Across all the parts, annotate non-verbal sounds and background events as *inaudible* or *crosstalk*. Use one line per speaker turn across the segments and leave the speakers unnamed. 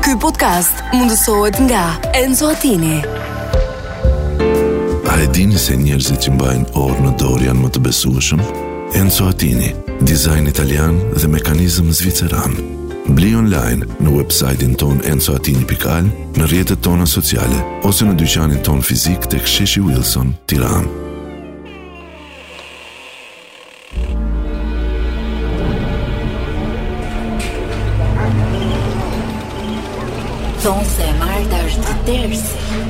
Ky podcast mundësohet nga Enzo Attini.
A e dini se njerëzit që mbajnë orë në dorë janë më të besueshëm? Enzo Attini, dizajn italian dhe mekanizëm zviceran. Bli online në website-in ton enzoatini.al, në rjetët tona sociale, ose në dyqanin ton fizik të ksheshi Wilson, tiran.
Thonë se e Marta është të tërsi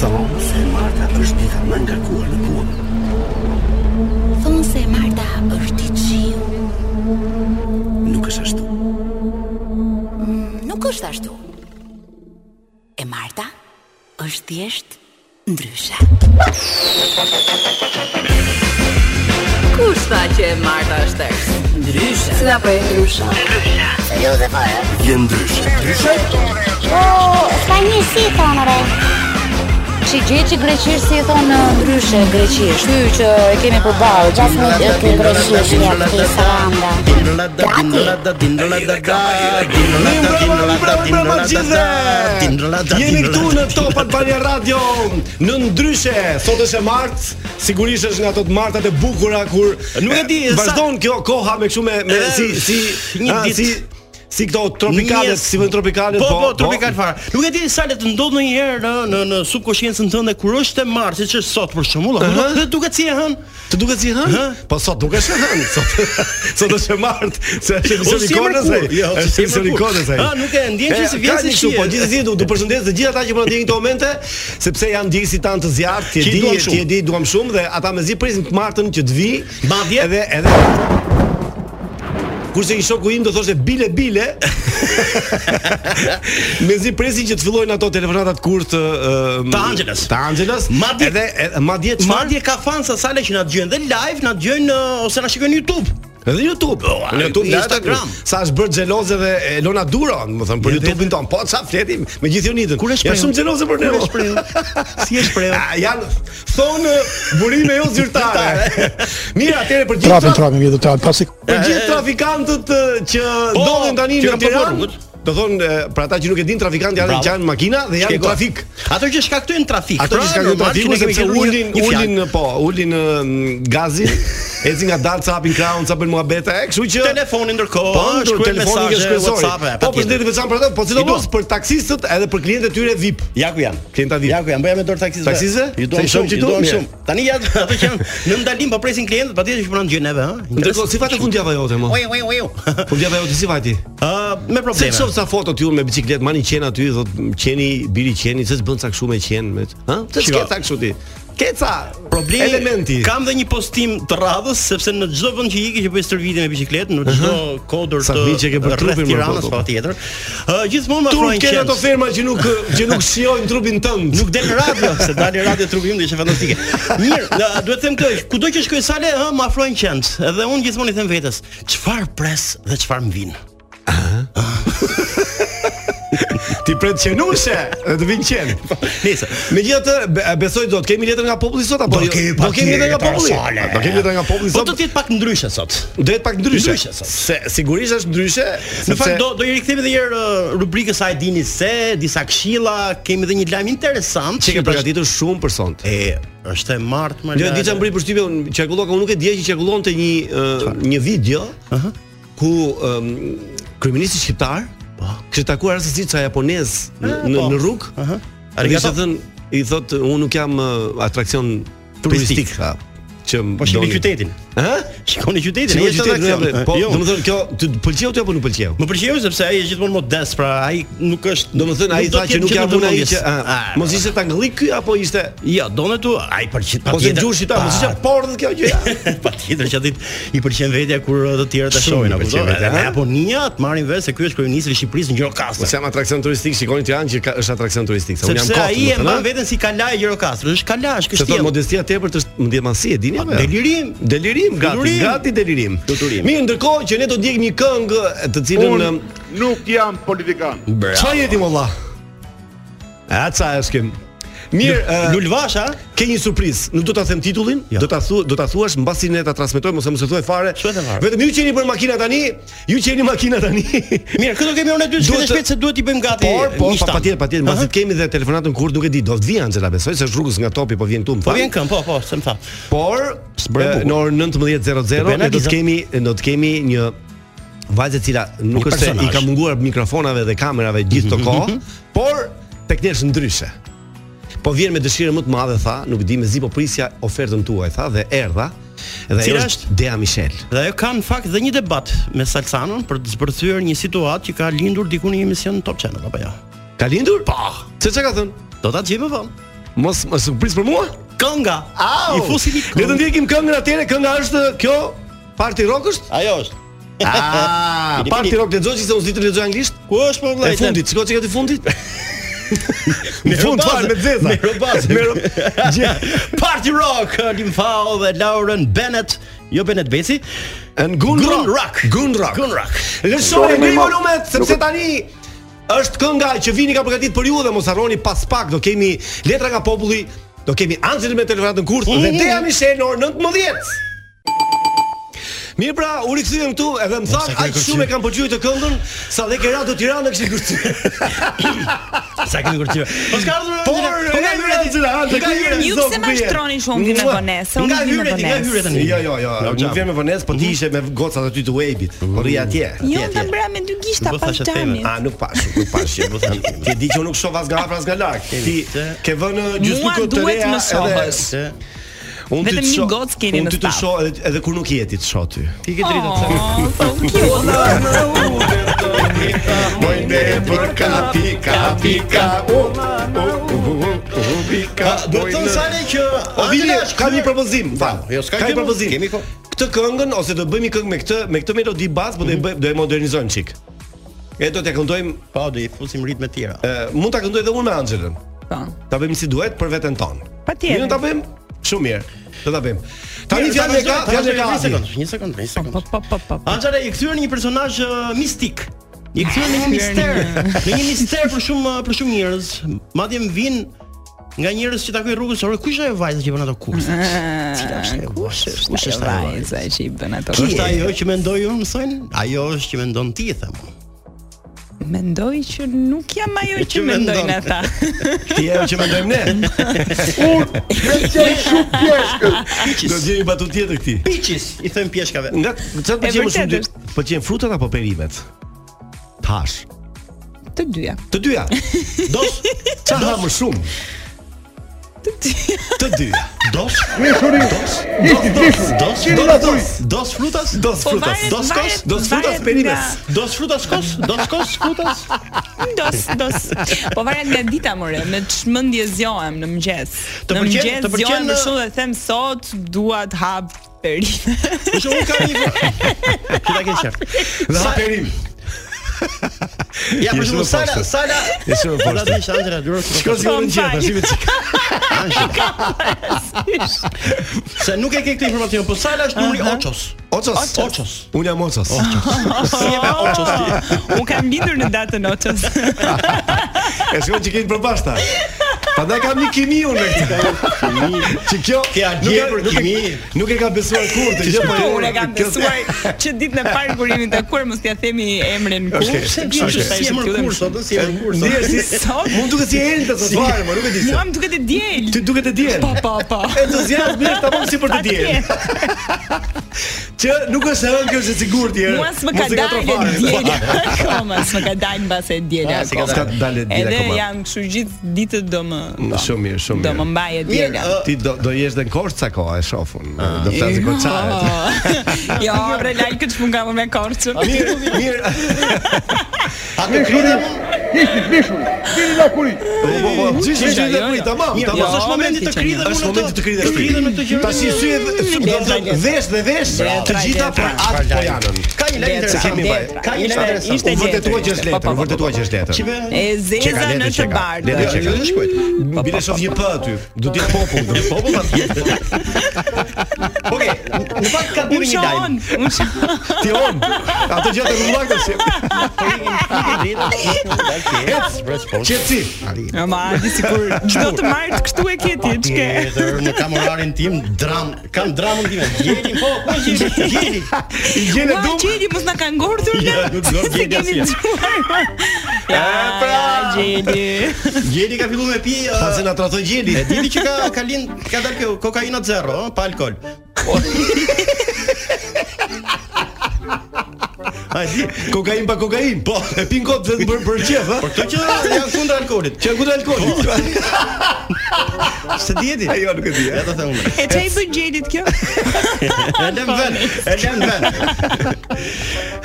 Thonë se Marta është dita më nga kuar në punë.
Thonë se e Marta është i qiu
Nuk është ashtu.
Nuk është ashtu E Marta është thjesht ndryshe Kush tha që e Marta është tërsi? Ndryshe Si da për e ndryshe?
Je ndryshe.
Ka një si thonë re
Që gjë që greqisht si e thonë në ndryshe greqisht. Ky që e kemi përballë,
Gjas me e ke greqisht një këti salanda
Jeni këtu në Top Albania Radio në ndryshe sot është e martë, sigurisht është nga ato të martat e bukura kur nuk e di vazhdon kjo koha me kështu me, me si si
Eh, një
a,
ditë.
si, si këto tropikale,
Njes.
si vën tropikale,
Po, po, tropikal fare. Nuk e di sa le të ndodh ndonjëherë në në në subkonsciencën tënde kur është e martë, siç është sot për shembull, apo
Aha.
do- do duket si e hën.
Të duket si hën?
Hë?
Po sot nuk është hën, *laughs* sot sot është e martë, se është emisioni
si e
konës ai.
mërkur. Jo, si e
Është emisioni
mërkur.
konës ai.
Ha, nuk e ndjen që si vjen si
kështu,
shi,
po
e.
gjithsesi du du përshëndes të gjithë ata që po na ndjekin këto momente, sepse janë ndjekësit tan të zjarrt, ti e
Që i
di,
duam
ti
shumë.
e di, duam shumë dhe ata mezi presin të martën që të vi.
Madje.
edhe edhe Kurse i shoku im do thoshte bile bile.
*laughs*
Mezi presin që të fillojnë ato telefonatat kurt uh,
Të Angeles.
Të Angeles.
Madje-
edhe e- madje çfarë?
Madje ka fan sa sale që na dëgjojnë dhe live, na dëgjojnë ë, ose na shikojnë
*laughs*
në YouTube.
Edhe YouTube. në YouTube,
në
lajta
Instagram.
këtu. Sa është bërë xheloze dhe Elona Dura, më thënë për YouTube-in ton. Po ça fletim me gjithë unitën.
Kur e shprehu?
Janë shumë xheloze për ne.
Kur e
mo. *laughs*
shprehu? Si e shprehu?
A, janë thonë burime jo zyrtare. *laughs* Mirë, atëherë për gjithë
Trapin,
traf-
trapin, vjetë të alë, pasi
për gjithë trafikantët e, që
Po,
ndodhin tani
që
në
kanë përbërë
Tiranë.
rrugët.
Do thonë e, për ata që nuk e din trafikantë janë
Bravo.
që janë makina dhe janë
Shkego.
trafik.
Ato që shkaktojnë trafik.
Ato që shkaktojnë trafiku sepse ulin ulin
uh,
po, ulin e,
*laughs*
gazin, ecin nga dalë, capin kraun, capin muhabete, e, kështu që
telefonin ndërkohë,
Po,
ë,
ndur
shkruajnë
telefonin
mesazhe,
që shkruajnë.
WhatsApp, e,
Po
patjetër.
përshëndetje veçan për ato, po sidomos për taksistët edhe për klientët e tyre VIP.
Ja ku janë.
Klienta VIP.
Ja ku janë, bëja me dorë taksistëve.
Taksistëve?
Ju duam
Se i shoh
shumë,
që
ju
tu?
duam
Mirë.
shumë. Tani ja *laughs* ato që janë në ndalim po presin klientët, patjetër që punon gjë neve, ha.
Ndërkohë si fate fundjava jote
*laughs*
mo?
Oj, oj, oj.
Fundjava jote si vajti?
Ë, Ah, me
Se
probleme.
shoh sa foto ti unë me biciklet, mani qen aty, thot qeni, biri qeni, se s'bën ca kështu me qen, me. Ha? Se
Shiko.
s'ke ca kështu ti. Ke ca
Problemi
elementi.
Kam dhe një postim të radhës sepse në çdo vend që iki që bëj stërvitje me bicikletë, në çdo kodër
Sa
të
vjet që ke për
rreth
trupin, më
Tiranës
po, po.
patjetër. Ë gjithmonë më
Turp
afrojnë
kanë ato
qenë.
ferma që nuk që nuk shijojnë trupin tënd.
Nuk del radio, se dali radio trupi im dhe ishte fantastike. Mirë, ë, duhet të them këtë, kudo që shkoj sale, ë, më afrojnë qend. Edhe unë gjithmonë i them vetes, çfarë pres dhe çfarë më vin.
ti pret qenushe, dhe të vinë
*laughs*
qen.
Nice.
Megjithatë, be- besoj do të kemi letër nga populli sot apo
Do
jo?
kemi
do kemi letër nga
patjetër,
populli.
sale.
Do kemi letër nga populli
Po
sot.
do të jetë pak ndryshe sot.
Do jetë pak ndryshe.
Ndryshe, sa.
se sigurisht është ndryshe.
Në fakt do do i rikthehemi edhe një herë ë, rubrikës sa e dini se, disa këshilla, kemi edhe një lajm interesant
që ke përgatitur shumë për sonte.
E, është e martë më
Do e di çam bëri përshtypje, unë qarkulloka, unë nuk e dija që qarkullonte një ë, një video, ku um, kryeministi shqiptar kishte takuar rastësisht ca japonez në në,
po.
në rrugë.
Aha.
Dhe
Arigato.
kishte thënë, i thot unë nuk jam ë, atraksion turistik,
Turistik.
tha, që më
Po shikoni
doni."
qytetin.
Ë?
Shikoni qytetin,
Shikoj
ai është
qytetin.
atraksion.
apo- Po,
Jo.
domethënë kjo të të pëlqeu ti apo nuk pëlqeu?
Më pëlqeu sepse ai është gjithmonë modest, pra ai nuk është
Domethënë ai
do
tha
të Ah.
që
jetë
nuk jam
gjithmonë
unë ai
modest.
që a,
A,
mos ishte tangëllik ky apo ishte
Jo, donë tu, ai pëlqen
ose gjushi ta, mos ishte porrë kjo gjë. *laughs*
*laughs* Patjetër që ditë i pëlqen vetja kur ë, të tjerët e
Shumë
shohin
i
apo do.
pëlqen vetja,
Edhe Në
ha?
Japonia të marrin vesh se ky është kryeministri i Shqipërisë në
Po
Gjirokastër.
se jam atraksion turistik, shikoni Tiranë që ka, është atraksion turistik. Se unë jam
Sepse
kot.
ai e
domethënë,
mban
a?
veten si kala e Gjirokastër, është kala, është
Se thot
kështjell.
modestia tepërt është ndjemasi, e dini apo? jo?
Delirim,
Delirim, gati,
Delirim.
gati delirim.
Tuturim.
Mirë, ndërkohë që ne do djegim një këngë të cilën um,
nuk jam politikan.
çfarë jeti molla? Aca është këm. Mirë, ë,
Lulvash, ha?
Ke një surprizë, nuk do ta them titullin,
Jo.
do ta thu, do ta thuash mbasi ne ta transmetojmë ose mos e thuaj fare.
Thuaj fare.
Vetëm ju qeni për makina tani, ju qeni makina tani. *laughs*
Mirë, këto kemi orën e dytë,
Duhet
shpejt
të-
shpejt se duhet i bëjmë gati.
Por, po,
miqtan.
pa- patjetër, patjetër, mbasi të kemi dhe telefonatën kur nuk e di, do të vi Angela, besoj se është rrugës nga topi, po vjen këtu më
Po
fal.
vjen këm, po, po, se më tha.
Por
S'bërë
e,
bukur.
në orën 19:00
Të bëna
ne do të
giza.
kemi do të kemi një vajzë e cila nuk
Një
është se i
personazh. Mhm,
ka munguar mikrofonave dhe kamerave gjithë të kohë, por tek ne është ndryshe. Po vjen me dëshirë më të madhe tha, nuk di me zi po prisja ofertën tuaj tha dhe erdha. Dhe
Cila
ajo
është?
është Dea Michel.
Dhe ajo ka në fakt dhe një debat me Salsanon për të zbërthyer një situatë që ka lindur diku në një emision Top Channel apo jo.
Ka lindur? Po. Se çka ka thënë?
Do ta gjejmë po? vonë.
Mos mos surprizë për mua?
Kënga.
Au!
I fusi një
Le të
këngë.
ndjekim këngën atëre, kënga është kjo Party Rock është?
Ajo është.
Ah, Party Rock lexoj që se unë s'di të lexoj anglisht.
Ku është po
E
vllai?
fundit, shiko çka ti fundit. *laughs* Në fund
robazë,
fal me zeza.
me robazë.
*laughs* Me ro- Gjë.
Party Rock, Lim Fao dhe Lauren Bennett, jo Bennett Besi.
Në Gun
Gun
Rock.
Rock.
Gun Rock.
Gun Rock.
Lëshoni ngri volumet sepse tani është kënga që vini ka përgatitur për ju dhe mos harroni pas pak do kemi letra nga populli, do kemi Anxhelin me telefonatën kurth dhe Dea Michel në orën 19. Mirë pra, u rikthyem këtu edhe më than aq shumë e kam pëlqyer të këngën sa dhe ke Radio Tirana kishte kërcyer.
Sa kemi
*laughs*
kurtimë. Po s'ka ardhur.
Por
Angela?
po nga hyra Angela, Angela,
Nga
ku
hyra.
jeni
Ju
zog,
pse
ku
ma
jeni?
shtroni shumë vinë me
Mua-
vonesë? Unë
Nga
vi me
hyre ti, nga
vonesë.
hyre tani.
Jo, jo, jo.
Bravo,
Nuk vjen me vonesë, po ti ishe me gocat aty të Wave-it. Po rri atje. atje,
Jo, ta
atje.
bëra me dy gishta
Nuk po
pas
thashë
xhamit.
A nuk pash, nuk pash. jo, po thënë. Ti e di që unë nuk shoh as nga afër as nga larg. Ti ke vënë
Mua
gjysmikun të
duhet
reja
më shohësh.
Unë ty
Vetëm
të
një
shoh.
gocë keni
Unë
në
ty të
staf.
shoh edhe edhe kur nuk je ti të shoh ty.
Ti ke drejtë. të them.
Oh, so cute.
Moj ne për kapi, kapi, ka.
Ah, Do të thënë sale që
O Po, vini,
Angela është
ka
kryer-
një propozim. fal.
Jo, s'ka
Ka
gjë,
një propozim.
kemi kohë.
Këtë këngën ose do bëjmë një këngë me këtë me këtë melodi bazë, po do e bëj- do e modernizojmë çik. E do t'ja këndojmë
Po, do i fusim ritme të tjera.
E, mund ta këndoj edhe unë me Anxhelën.
Po.
Ta bëjmë si duhet për veten tonë.
Patjetër.
Mirë ta bëjmë? Shumë mirë. Do ta bëjmë. Tani fjalën e ka, fjalën e ka.
Një
Adi.
sekond, një sekond, një sekond.
Po po po po. po.
Anxhara i kthyer në një personazh ë, mistik. I kthyer në një mister, në një mister për shumë për shumë njerëz. Madje më vin nga njerëz që takoj rrugës, "Ore, kush është ajo vajza që bën ato kurse?" Cila është ajo?
Kush është?
Kush është ajo
vajza që i bën ato?
Kush është ajo që mendoj unë mësojnë? Ajo është që mendon ti, e them. unë.
Mendoj që nuk jam ajo që
Që mendon.
mendojnë ata.
Ti e që mendojmë ne. Do të gjejmë batu tjetër këtij.
Piçis, i them pjeshkave.
Nga çfarë
E
pëlqen më shumë
vërtet
ty?
është.
Pëlqen frutat apo perimet? Tash.
Të dyja.
Të dyja. Dos ça ha më shumë? Të dyja.
Dos,
Të dyja. Dos, dos, dos, dos,
dos frutas,
dos
Po
frutas,
varet-
dos kos,
varet-
dos frutas
varet
perimes.
nga-
dos frutas kos, dos kos frutas.
Dos, dos. Po varet nga dita more, me çmendje zgjohem në mëngjes.
Të
Në
pëlqen-
mëngjes
të pëlqen-
zgjohem për shkak dhe them sot dua të hap perime.
Për shembull, unë kam një Ti ta ke qartë.
Dhe ha
Sa-
perim.
Ja, për
Je
shembull,
shumë
Sala,
poshtë.
Sala.
E shumë
Po
poshtë.
ta dish Angela Duros.
Shko si unë
Po,
gjeta,
mbaj.
shihet çik.
Se nuk e ke këtë informacion, po Sala është numri Ochos.
Ocos.
Ochos.
Unë jam Ocos.
Si e pa Ochos ti?
*laughs* Unë kam bindur në datën otës.
E shkon që keni përbashta. Prandaj kam një kimi unë me këtë. Që kjo
Ke
nuk
algje
e-
për
nuk e-
kimi.
Nuk e ka besuar kur të gjë po.
Po, unë e kam besuar që ditën e parë kur jemi takuar mos t'ia themi emrin kur.
Okej,
pse
Ti
vjen
është
që
si
sa ishte
emër
këtu dhe
kur
më-
sot, si emër kur sot.
Ndihesh si
Sot?
Mund duket si e të fare, më nuk e di se.
Mua më duket e diel.
Ty duket *laughs* e diel.
Po, po, po.
Entuziazmi është tamam si për të diel.
*laughs* Atje.
Që nuk është hënë kjo është e sigurt tjerë.
Mua s'më ka dalë djela *laughs* akoma, s'më ka dalë mbas e djela
Ah, s'e ka
akoma.
Po, Ska dalë diel
Edhe
akoma.
jam kështu gjithë ditët do më
Shumë mirë, shumë
do më
mirë.
mbaje
Mirë,
djela.
ë,
Ti do do jesh dhe në Korçë sa kohë e shoh unë. Do të flasë Korçaret.
Po. *laughs* Jo, bre lajkët këtë çmund kam me korçën.
Mirë, mirë.
a të kritim?
Po po po, gjyshi
jo,
gjyshi
jo,
kri,
jo.
tamam,
Mirë,
tamam.
mos është
Jo,
momenti
me
të
ti që
kridhem
Është
unë
momenti të krydhesh ti.
Kridhem në këtë gjë.
Tash i sy do të thonë vesh dhe vesh, të gjitha për atë po janën.
Ka një lajm
Se
interesant.
kemi vaj.
Letra.
Ka një
Ishte-
lajm interesant.
ishte
U vërtetua që është letër,
letër, po,
u
po, po,
vërtetua që është
Që
letër.
be-
E zeza në
letër
të
çeka,
bardhë.
letër çeka.
Jo, jo, shkruajt.
Bile shoh një p aty. Do të jetë popull, do të jetë popull atje.
Okej, në fakt ka bërë
Unë
një lajm.
shohon, unë shohon.
*laughs* Ti on. Ato gjatë rrugëllakësh.
Okej.
Qetsi.
Ja, Ma, di sikur çdo të martë kështu e ke ti, ç'ke.
Tjetër, unë kam orarin tim, dram, kam dramën time. Gjelin po, ku është gjeli? Gjeli. I gjenë
Ua,
dum.
qedi mos na ka ngordhur ne?
Ja, nuk do
*laughs* Se
gjeli
kemi
asnjë.
dëgjuar.
Ja, pra.
Gjedi.
Gjeli ka filluar me pi. uh, ë,
Pasi na tradhoi gjeli.
E dini që ka ka lind ka dalë kjo kokaina zero, ëh, pa alkol. Po. Ai di,
Kokain pa kokain. Po, e pin kot vetëm për për qef,
por
ha.
këto *laughs* që janë kundër alkoolit.
Që ku do alkooli?
*laughs* Se dieti?
Po. Ajo nuk e di. eh.
Ja ta them unë.
E çai bën gjedit kjo?
E lëm vend, e lëm vend. *laughs*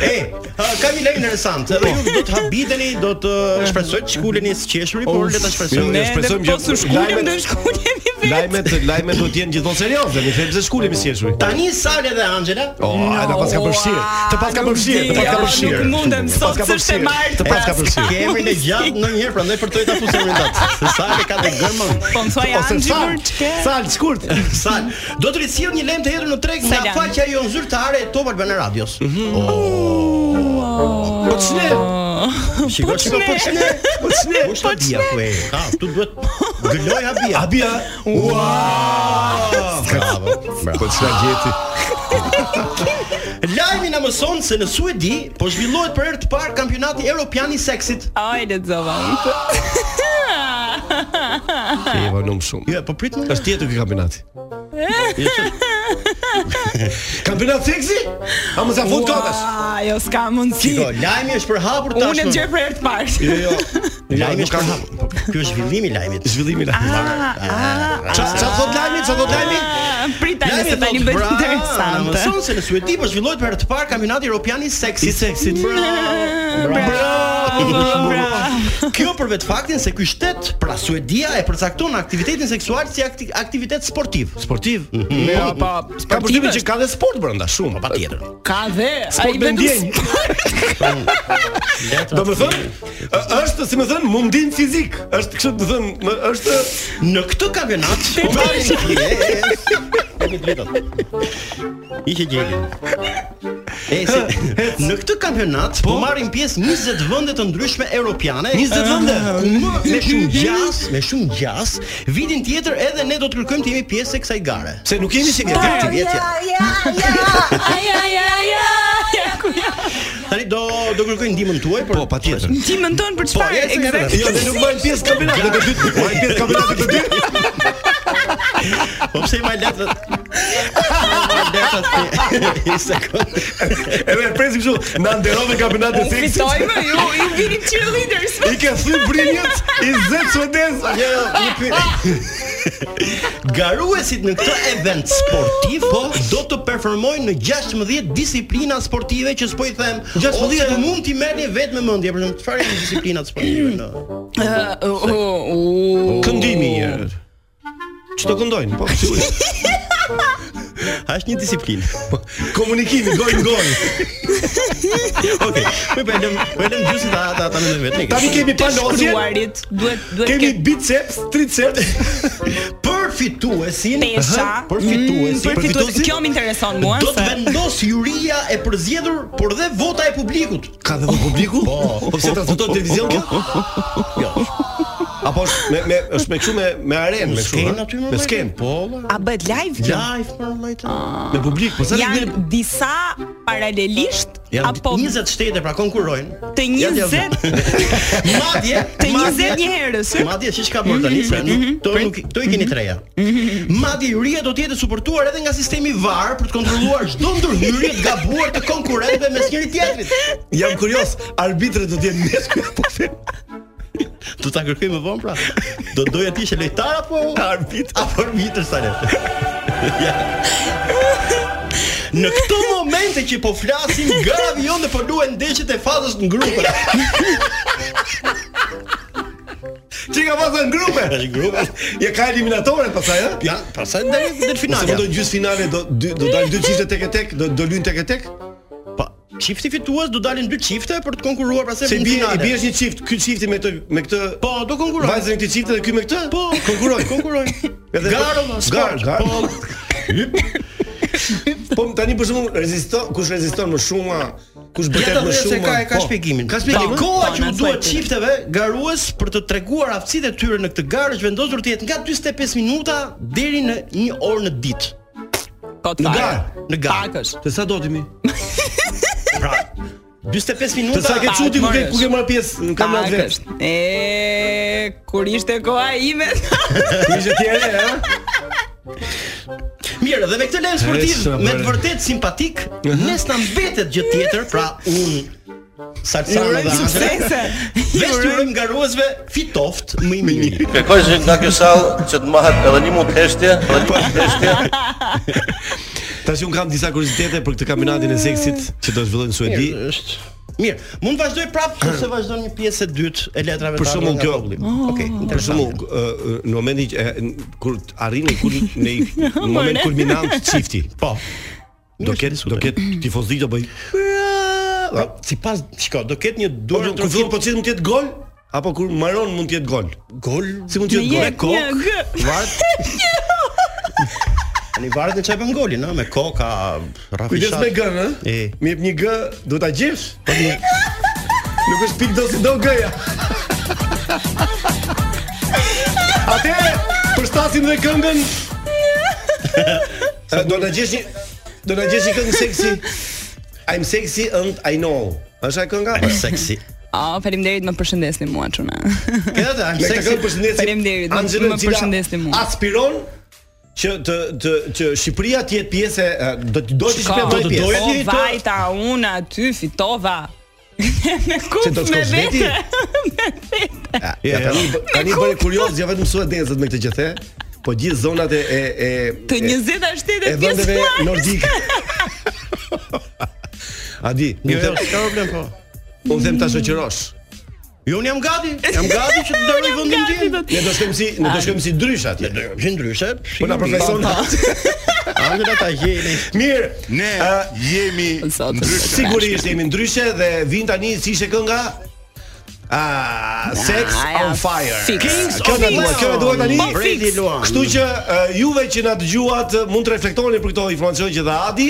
Ej, ha, ka një lajm interesant. Edhe ju do të habiteni, do të shpresoj të shkuleni së qeshuri, por le ta
Ne
Ne
shpresoj.
shpresojmë
dhe
që
Po su shkulim
lajmet-
do shkulemi vetë.
Lajmet, lajmet do të jenë gjithmonë serioze, ne them se shkulemi si e shuj.
Tani Sale dhe Angela
O, ala pas ka përfshirë. Të pas ka
Nuk
përfshirë, të
di,
pas ka
ja,
përfshirë.
Nuk mundem
Të pas
sot
ka
se është e
përfshirë.
martë.
Të pas ka
pras.
përfshirë.
Ke emrin e gjatë ndonjëherë, prandaj përtoj ta fusë emrin tat. Se Sale ka të gërmën.
Po më thuaj
Ose
Anxhi
sal,
kur ç'ke?
sal, shkurt.
Sal, do të rrisjell një lajm të hedhur në treg nga
Selam.
faqja jo zyrtare e Top Albana Radios.
Po ç'ne?
Shiko, shiko, po çne, po çne, po çne. Ha, tu duhet gëloj habia.
Abia.
Bravo.
Po ç'na gjeti?
Lajmi na mëson se në Suedi po zhvillohet për herë të parë kampionati evropian i seksit.
Ai lexova.
E vonum shumë.
Jo, po prit më.
Është tjetër ky
*laughs*
kampionati. Kampionat seksi? A mos afut kokash?
Ua, Jo, s'ka mundsi.
Shiko, lajmi është përhapur
Unë e
tashmë.
gjej për herë të parë.
Jo,
*laughs*
jo.
Lajmi
Lajmi
është
ka
përhapur. Po, Ky është zhvillimi i lajmit. Ah,
zhvillimi i lajmit. Ah.
Ça ça thot lajmi? Ça thot lajmi?
*laughs* Ah, Prit tani
Lajmi
se tani
thot,
bëhet
"Bra, Na
interesante.
mëson se në Suedi po zhvillohet për herë të parë kampionati evropian i seksit. I seksit. Bravo.
Bravo, bravo.
Kjo për vetë Jo, faktin se ky shtet, pra Suedia e përcakton aktivitetin seksual si akti aktivitet sportiv.
Sportiv.
Mhm.
Ne
Po,
pa ka përshtypjen që ka dhe sport brenda shumë.
Patjetër.
Ka dhe ai
me
vetëm
ndjenjë.
*laughs*
Do të thënë,
Mhm.
ë- është si më thën mundim fizik. Është kështu të thën, më- është
Në këtë kampionat po marrin Kemi drejtat. Ishte gjeli. E si, në këtë kampionat po marrin pjesë 20 vende të ndryshme europiane.
20 vende?
Më me shumë gjas, me shumë gjas, vitin tjetër edhe ne do të kërkojmë të jemi pjesë e kësaj gare.
se nuk jemi si
Vjeti, vjeti.
Ai ai ai ai. ja, ku ja.
Tani do do kërkoj ndihmën tuaj për
Po, patjetër.
Ti mendon për
Po,
çfarë?
ja, se-
Eksakt.
Jo, ne nuk marrim pjesë kampionat të dytë. Marrim pjesë kampionat të dytë.
Po pse i maj letrat? Letrat ti. Një sekond.
Edhe e presim kështu, na nderove kampionat të
U
seksit.
fitojmë, ju ju vini cheerleaders.
I ke thyr brinjët i 10 suedez.
Jo, jo, një pyetje. Garuesit në këtë event sportiv po do të performojnë në 16 disiplina sportive që s'po i them.
16?
ose mund t'i merrni vetë me mendje, për shembull, çfarë janë disiplinat sportive në?
Këndimi. Çto këndojnë? Po, sigurisht.
A është një disiplinë.
Po, Komunikimi goj në goj.
*laughs* Okej, më bëlem, bëlem gjysmë ta ta ta mendoj vetë.
Tani kemi palozje,
Shkruarit duhet duhet
kemi biceps, triceps.
për fituesin,
Pesha.
Aha, për fituesin,
për fituesin. Kjo më intereson mua.
do të
se-
vendos juria e përzgjedhur, por dhe vota e publikut.
Ka dhe publiku? Po, pse transmetohet televizion kjo?
Jo,
Apo është me me është me kështu me me arenë, me kështu.
skenë
ha?
aty më.
Me
vëllai.
sken,
Po, vëllai.
A bëhet live kjo?
Live për vëllai.
me publik, po sa ne
Ah. Janë
vjen
disa paralelisht
Janë
apo
20 shtete pra konkurrojnë.
të
Janë
20
Madje
të 20 një herës. ë?
Madje siç ka bërë tani se nuk- to nuk to i keni treja. Madje juria do të jetë e suportuar edhe nga sistemi VAR për të kontrolluar çdo ndërhyrje të gabuar të konkurrentëve mes njëri tjetrit.
jam kurios, arbitret do të jenë meshkuj apo femër?
Do ta kërkoj më vonë pra. Do doja ti ishe lojtar apo arbitër? Apo arbitër sa le. ja. Në këto momente që po flasim, gravi jonë po luajnë ndeshjet e fazës në grupe.
Çi ka pasur në *laughs* grupe?
Në grupe.
Ja ka eliminatoret pasaj, ha?
Ja, pra, pastaj deri deri në
Ose
finale.
mendoj gjysmëfinale do dy- do dalë dy çifte tek e tek, do do luajnë tek e tek?
Po, çifti fitues do dalin dy çifte për të konkuruar pra se
Se
në
bie i
finale.
bie është një çift, ky çifti me këtë me këtë
Po, do konkurojnë.
vajzën e këtij çifti dhe ky me këtë?
Po, konkurojnë, konkurojnë.
*laughs* Edhe-
Garo,
Gar,
sport.
gar.
Po,
*laughs* Po tani për shembull rezisto, kush reziston më shumë a, kush
Ja
bërtet më shumë.
se ka ka
po.
shpjegimin.
Ka shpjegimin?
Pa, Koha
Po,
që
na
u
thuaj
duhet
ti.
çifteve garues për të treguar aftësitë e tyre në këtë garë është vendosur të jetë nga 45 minuta deri në 1 orë në ditë.
Po
Në
fare.
garë, në garë.
Pak është.
Të sa do ti mi?
*laughs* Pra, 45
Të
minuta
sa ke
pak,
çuti ku ke
morës.
ku ke marr pjesë në kamerat *laughs*
Pak
vetë.
është. E kur ishte koha ime.
Ishte ti ere, ha?
Mirë, dhe me këtë lajm sportiv
Esa,
me të
bre.
vërtet simpatik, nes na mbetet gjë tjetër, pra un Salsano
Urojmë
dhe Andre.
suksese.
Vesh ju urojmë garuesve fitoft më i mirë.
Shpjegoj që nga kjo sallë që të mahet edhe një mund heshtje, edhe një mund heshtje.
Tash un kam disa kuriozitete për këtë kampionatin e seksit që do zhvillojnë në Suedi.
Mirë, është. Mirë, mund të vazhdoj prapë sepse vazhdon një pjesë e dytë e letrave
Për
të
shembull
ardhme nga
kjo.
populli.
Okej, për shembull k- ë, ë, uh, në momentin që- e, n- kur t- arrin kur në i- në moment kulminant çifti. Po. Do
Mirë,
ket
s'e
do ket tifozlik do bëj.
Pra, Sipas, shiko, do ketë një
Po
duar
kur fillon po
trofim
çit mund të jetë gol apo kur mbaron mund të jetë gol.
gol.
Si mund të jetë gol?
Një,
Me kokë,
një, gë.
Varet.
Ani varet në çfarë bën golin, ëh, me koka, rafishat.
Kujdes me gën, ë?
E. Po
Mi jep një g, do ta gjesh? Nuk është pik do si do gëja. Atëre, përshtasim dhe
*laughs*
këngën. Eh, Do na gjesh një do na gjesh një këngë seksi. I'm sexy and I know. Është ai kënga?
I'm sexy.
Oh, faleminderit më përshëndesni mua çuna. *laughs*
Këtë
*laughs*
atë, I'm
Me këtë
sexy.
këngë përshëndesim.
Faleminderit, më-
Angelo,
më
e cila
përshëndesni mua.
Aspiron që të të që Shqipëria të jetë pjesë e, eh, do të do të
Ka.
shpëtojë
të
pjesë.
doja
O
ti të-
vajta, unë aty fitova. *laughs* me
Se do
kupë,
të
me
shkosh
vete.
veti?
*laughs*
Ja, tani tani bëre kurioz, ja vetëm suedezët me këtë që the, po gjithë zonat e e e
Të
e-
27
e
pjesë.
vendeve
*laughs*
nordike. A di,
Jo,
unë
jo,
them,
s'ka problem po.
unë them ta shoqërosh.
Jo, unë jam
*laughs*
gati. Jam gati që të dëroj vendin tim.
Ne do shkojmë si, ne do shkojmë si drysh atje.
Gjë ndryshe.
Po na profeson. *laughs*
Angela ta gjeni.
Mirë.
Ne jemi
Zotë.
ndryshe.
Sigurisht jemi ndryshe dhe vin tani si ishte kënga? Ah, Sex
Ah,
on
ja,
Fire.
fix.
Kjo na duhet, kjo na duhet tani.
Po, fix.
Bredi Luan.
Kështu që uh, juve që na dëgjuat uh, mund të reflektoni për këto informacione që dha Adi,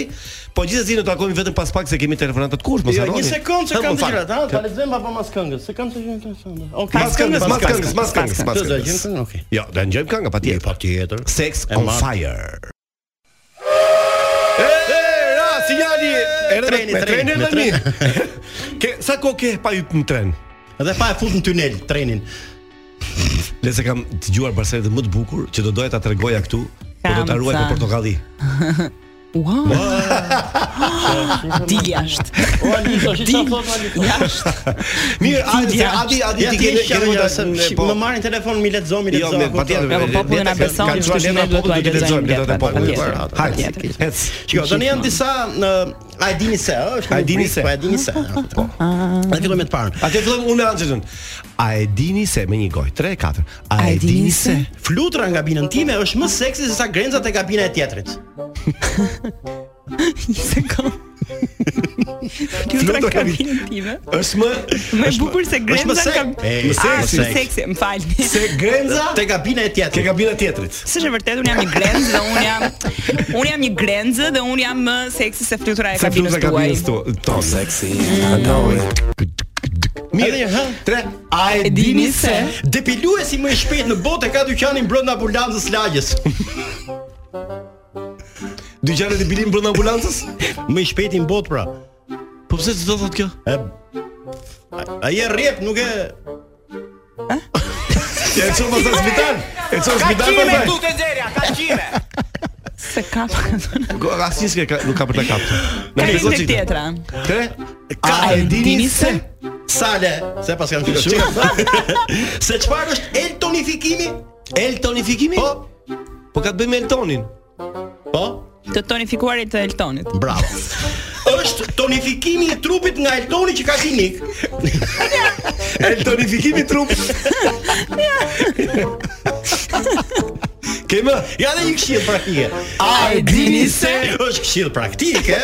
po gjithsesi ne takojmë vetëm pas pak se kemi telefonata të kush, mos
Jo,
harroni.
një sekondë se
Ha,
kam
më
të
fal.
gjërat, ha, ta lexojmë apo mas këngës. Se kam të gjërat. Okej.
Pas këngës, pas këngës, pas këngës, pas
Të do gjën
këngës.
këngë, okej.
Jo, do ngjojmë këngë patjetër.
patjetër.
Sex
E
on
marr.
Fire. E, e, ra, sinjali, erdhe
Treni,
me
treni,
trenin
me
tani. Ke sa kohë ke pa hyr në tren?
Edhe pa e fut në tunel trenin.
Le se kam dëgjuar barsetë më të bukur që do doja ta tregoja këtu, po do
Kam
ta ruaj për
thënë.
portokalli.
Wow. Ti jashtë.
O Ali, tash sa thot Ali.
Jashtë.
Mirë, Adi,
jashtë.
Adi, Adi,
Ja
ti
ti
ke
ke
ke
Më marrin telefon, mi lexo, mi
Jo,
lexo.
me patjetër.
Ja, po
le-
populli
le-
na
le-
beson,
ka
kështu
çuar
që
letra,
ne duhet
populli
t'ua
do t'i
lexojmë
lexojmë, letrat e
letrat,
popullit.
patjetër,
Hajde.
patjetër.
Ec.
Shiko, jo, tani janë disa në a e dini se, ë, është
A e dini se?
Po e dini se. Po. Ne fillojmë me të parën.
Atë fillojmë unë me Anxhelën. A e dini se me një gojë 3 4. A e dini se?
Flutra nga binën time është më seksi se sa grencat e kabina e tjetrit.
Një sekond. Kjo
Flutra
tra
ka vi-
kabinën time.
Është më
Më e bukur se
më
grenza
sek-
ka.
e,
më
Ah,
seksi.
është seksi, më
*laughs*
falni.
se grenza
Te kabina e
ke
tjetrit.
kabina tjetrit.
Së vërtet unë jam një grenzë dhe unë jam unë jam një grenzë dhe unë jam më seksi se flutura e
Se
kabinës
flutra
tuaj.
kabinës tuaj. Ton sexy. I know it.
Mirë, hë?
Tre.
A
E dini se?
Depiluesi më i shpejt në botë e ka dyqanin brenda ambulancës lagjes.
Dyqanet e *laughs* bilim brenda ambulancës?
Më i shpejti në botë pra.
Po pse ç'do thot kjo?
E a- Ai e rrjep, nuk e
Ja e çon pastaj në spital. E çon në spital pastaj.
të xherja, ka qime.
Se ka.
Go- Asnjë s'ke ka- nuk ka për ta kapur.
Ka
Ne
një tek tjetra.
Tre. A e dini se?
sale, se pas kam thënë. Çka
*laughs*
tha? Se çfarë është el tonifikimi?
El tonifikimi? Po. Po ka të bëjë me Eltonin.
Po,
Të tonifikuarit të Eltonit.
bravo. është tonifikimi i trupit nga Eltoni që ka
*laughs*
klinik.
El tonifikimi trup. Kemë
Ja dhe një këshill praktike.
A e dini se?
është këshill
*laughs*
praktike.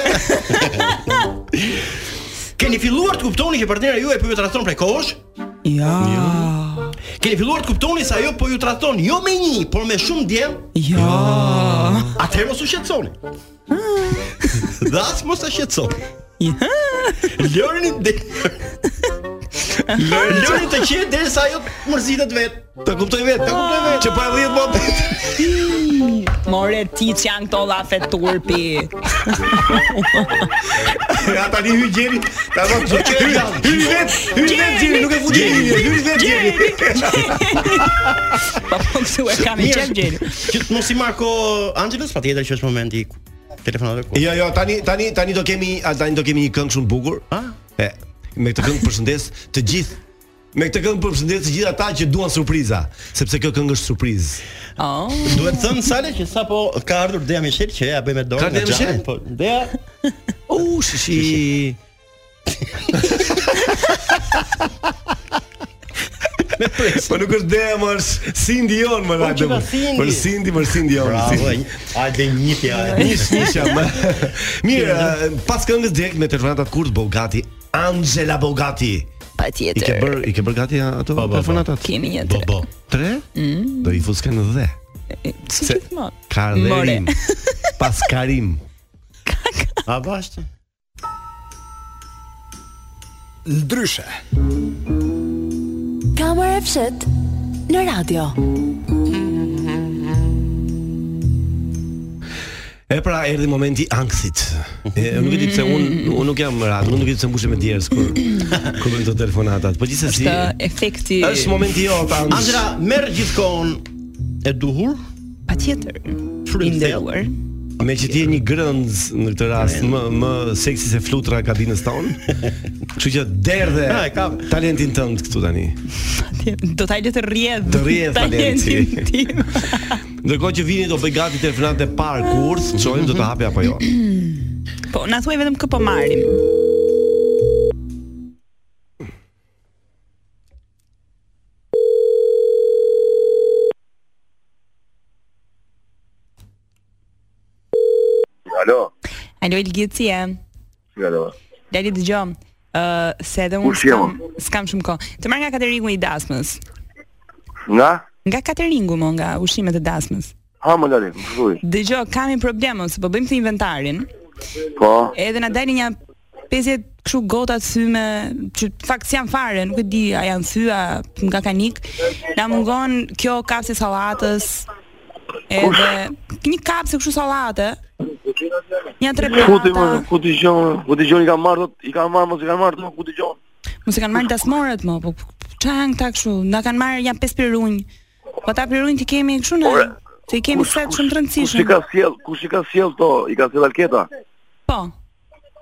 Keni filluar të kuptoni që partnera juaj po ju trajton prej kohësh?
Ja.
Keni filluar të kuptoni se ajo po ju trajton jo me një, por me shumë djem?
Ja. Ah.
*laughs* Atëherë mos u shqetësoni. Dhe as mos ta shqetësoni. Lërni del.
*laughs*
Lërni lërni të qetë derisa ajo mërzitet vet.
Ta kuptoj vet, ta kuptoj vet. Që pa 10 *laughs* mohabet.
More ti që janë këto llafe turpi.
Ja tani hy gjeri, ta do të
hy hy vet, hy vet gjeri, nuk e futi gjeri, hy vet gjeri.
Po po këtu e kam i
Mirë,
qep gjeri.
Që të mos i marko Angelos, patjetër që është momenti ku telefonave ku.
Jo, jo, tani tani tani do kemi a, tani do kemi një këngë shumë bukur. Ha?
Ah,
E, me këtë këngë përshëndes të gjithë Me këtë këngë përshëndes të gjithë ata që duan surpriza, sepse kjo këngë është surprizë.
Oh.
Duhet thënë sale që sapo ka ardhur Dea Michel që ja bëj me dorë.
Ka
nga
Dea Michel?
xhami, Po, Dea.
U, shishi.
Me pres.
Po nuk është Dea, më është Cindy jon,
Po
më
që ka
radhë.
Cindy?
Për Cindy, për Cindy jon.
Bravo.
Cindy.
Hajde njëpja.
*laughs* Nish, nish jam. Mirë, eh, pas këngës direkt me telefonatat kurt Bogati, Angela Bogati. I ke
Patjetër.
bër, i ke bër gati ato telefonatat?
Po, Kemi një
Bo,
tre.
bo. Tre?
Mm.
Do i fus kanë dhe.
Si gjithmonë.
Ka dhe
More.
*laughs*
rim. Pas Karim.
A bashkë?
Ndryshe.
Kamër e fshet në radio.
E pra erdhi momenti i ankthit. E, nuk e di pse un un nuk jam rat, unë nuk e di pse mbushem me djerës
*clears throat*
kur kur bën këto telefonatat. Po gjithsesi
Është efekti.
është momenti jo, pra, jot Angela.
Angela merr gjithkohon e duhur,
patjetër. I
frym thellë.
nderuar.
Me që ti je një grënz në këtë rast më më seksi se flutra e kabinës tonë.
*laughs*
Kështu që derdhe
Ha, e kam.
talentin tënd këtu tani.
*laughs* Do ta lë të rrjedh.
Të rrjedh
talentin
talenti.
tim. *laughs*
Ndërkohë që vini do bëj gati telefonat e parë kurth, çojmë do të hapi apo
*clears throat*
jo.
Po na thuaj vetëm kë po marrim.
Alo.
Alo Ilgici jam.
Alo.
Lali dëgjom. Ë se edhe unë
Kush je,
s'kam, s'kam shumë kohë. Të marr nga kateringu i dasmës.
Nga?
Nga kateringu mo, nga ushqimet e dasmës.
Ha më lari, më thuj.
Dëgjoj, kam një problem ose po bëjmë të inventarin.
Po.
Edhe na dalin një 50 kështu gota thyme, që fakt s'jan fare, nuk e di a janë thyja nga kanik. Na mungon kjo kapse sallatës. Edhe një kapse kështu sallate. Një tre
Futi më,
pata.
ku t'i gjonë, ku t'i gjonë i ka marrë, thot, i ka marrë, mos i ka marrë, thot, ku t'i gjonë.
Mos e kanë marrë dasmorët më, po çfarë janë këta kështu? Na kanë marrë janë pesë pirunj. Po ta pirunj ti kemi kështu në
Ore,
Të i kemi set shumë të
Kush i
rëndësishëm.
ka sjell, kush i ka sjell to, i ka sjell alketa.
Po.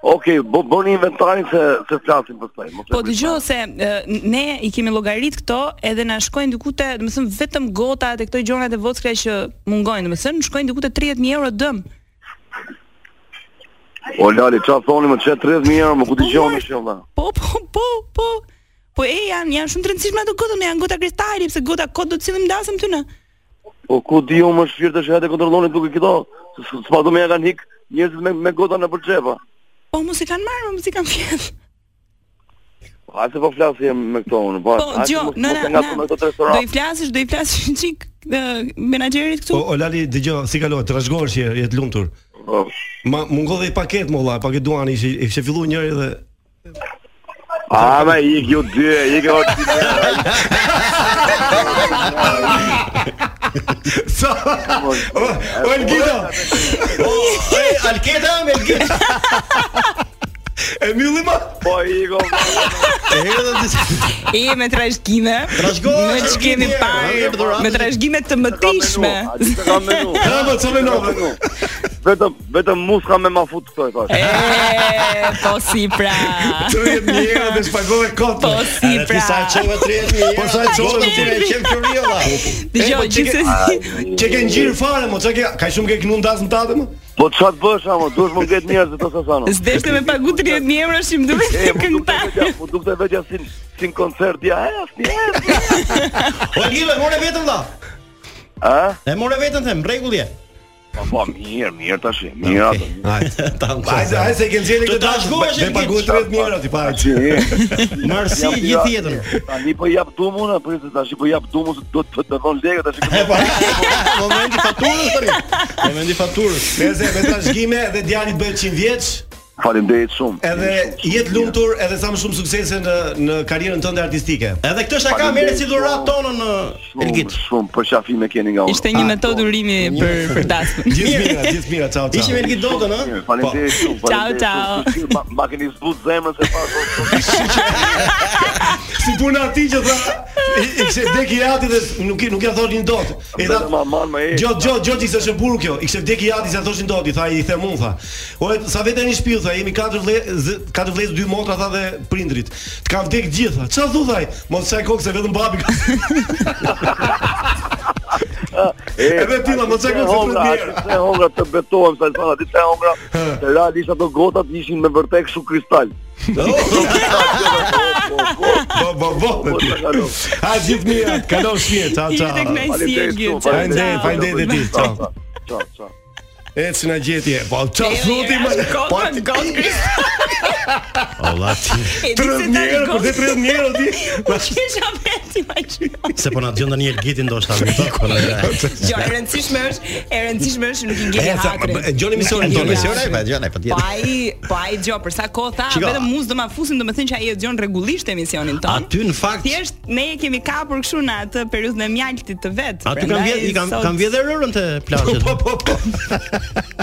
Okej, bo bëni inventarin se se flasim pastaj. mos e
Po
bëj.
dëgjoj se e, ne i kemi llogarit këto edhe na shkojnë diku te, domethënë vetëm gota te këto gjonat e vockra që mungojnë, domethënë shkojnë diku te 30000 euro dëm.
O lali, çfarë thoni më çe 30000 euro, më ku t'i gjonë më shumë.
Po, po, po, po. Po e janë janë shumë të rëndësishme ato gota, ne janë gota kristali, pse gota kot do të sillim dasëm ty në.
Po ku di unë më shpirt është hajde kontrolloni duke këto. s- s- S'pa do më ja kanë hik njerëzit me me gota në përçepa.
Po mos i kanë marrë, mos i kanë fjet.
A se po flasim me këto unë, po.
Po,
a se
dëgjoj,
mos-
në
mos e
në
ngacmoni me
në.
këto të
Do i
restorant.
flasësh, do i flasësh një çik e, menaxherit
O,
këtu.
o Lali, dëgjoj, si kalohet, trashëgohesh je, je të lumtur.
Po.
Ma mungon dhe i paketë më vëlla, paketë duani, ishte ishte filluar njëri dhe
*laughs*
A me i kjo dy, i kjo ti.
Sa? O, o Elgito, Oh,
E Alketa me Alketa.
e mbylli më.
Po i kjo.
E erdhën disa.
E me Po. trashëgime.
Trashëgohesh,
Me që kemi
trashëgime, e,
parë,
dhuratës.
me trashëgime të
Menu,
mëtishme.
a ti s'e ka menu.
Ha, më çfarë nove?
Menu. Vetëm vetëm mus ka me ma fut këto e thash.
E, po si pra.
30000 euro dhe shpagove kot.
Po si
Edhe
pra.
ti sa çova 30000 euro. Po sa çova ti e qem kuriolla.
*laughs*
po
Dëgjoj, *laughs* gjithsesi.
Çe po, ke ngjir fare, mo çe ke, ka shumë ke kënu ndasën tatë më?
Po çfarë të bësh ama, duhesh më ngjet njerëz të sasano.
Zdeshte me pagu 30000 euro që më duhet *laughs*
E,
po,
të
më dukte
këngëtar.
vetja, më dukte vetja si si në koncert ja, e, asni, e.
O Alketa more vetëm vlla.
A?
E more vetëm them, rregull je.
Po, po, mirë, mirë tash, mirë atë.
Hajde, hajde se e ke nxjerrë
Të
këtë
trashëgohesh,
Dhe
Elgit.
pagu 30000 euro ti para.
Marsi
Jap-
gjithë jetën.
Tani po jap dhumun, apo tash po jap dhumun se do të të dhon lekë tash.
E pa. Momenti faturës tani. Momenti faturës.
Nëse me trashëgime dhe djalit bëhet 100 vjeç,
Faleminderit shumë.
Edhe jetë lumtur edhe sa më shumë suksese në në karrierën tënde artistike.
Edhe këtë shaka merret si dhuratë tonë në
Elgit. Shumë për shafime keni
po.
nga unë.
Ishte
Ah,
një metodë urimi për për
*laughs*
dasmën.
Gjithë mira, gjithë mira, ciao ciao.
Ishim Elgit Dodën, ë?
Faleminderit shumë.
Ciao, ciao.
ciao. Ma keni zbut zemrën se pas. po,
Si puna ati që tha i- i kse vdek i ati dhe s- nuk, i- nuk ja thonin dot E tha
Aman më e.
Gjo, gjo,
gjo që i kështë buru kjo, i kështë vdek i ati se a thoshin doti, tha i the mund, tha Ore, sa vete një shpiu, tha, jemi 4 vlezë, 4 vlezë, 2 motra, tha dhe prindrit Të ka vdek gjithë, tha, qa thu, thaj, mos qaj kokë se vetëm babi ka *laughs*
Edhe
ti ma mos e kuptoj
hongra,
mirë.
atë Se hongra të betohem sa i thana, ti se hongra, të realisht ato gotat ishin me vërtet kështu kristal.
Bo, bo, bo Ha, gjithë mirë, kalon shpje, qa, qa
Jetë kënaqësi e gjithë.
Fajnë dhe, fajnë dhe ti, qa
Ciao, ciao.
E si na gjetje Po, qa thuti më Po, ti ka
Ola ti
E di se
30
tani
njerë, për
gocë.
të 30 njerë ti
Po kisha vetë imagjino.
Se po na dëgjon tani Elgiti ndoshta. Po
*laughs*
na.
Jo, e rëndësishme është, e rëndësishme është nuk i ngeli
E, sa-
hakrin.
e, gjoni misionin tonë,
Ja.
misionin, e, pa, gjoni, pa tjetër.
Po ai, po ai dëgjoj për sa kohë tha,
Shiko.
vetëm muz do ma fusin, domethënë që ai e dëgjon rregullisht emisionin ton.
Aty në fakt
Thjesht ne e kemi kapur kështu në atë periudhën e mjaltit të vet.
Aty
Prandaj
kanë vjedh, i kanë
sot-
kanë vjedhë rërën te plazhet. Po po po.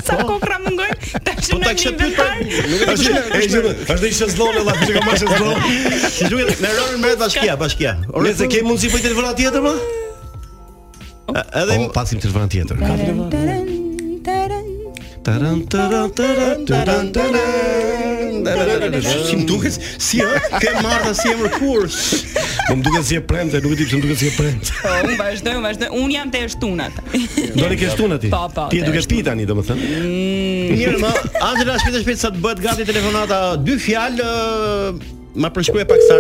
Sa
po.
kokra mungoj? Tash
Po ta
në
kishe
inventar.
Nuk e
Ashtu,
di.
e gjithë, ashtu i shëzlon e la, që ka ma shëzlon
Si duhet me rërën merret bashkia, bashkia.
Ore, se ke mundësi për telefonat tjetër, ma?
edhe
O, pasim telefonat tjetër Taran, taran, taran, taran, taran
Si më duket, si ë, ke Marta si emër kur? Po më duket si e premte, nuk e di pse më duket si e premte.
Po, unë vazhdoj, unë vazhdoj. Unë jam te shtunat.
Do ne kesh tunë ti.
Po, po,
Ti e
të
duke pi tani domethënë.
Mm, Mirë, më Angela shpejt e shpejt sa të bëhet gati telefonata, dy fjalë ë, ma përshkruaj pak sa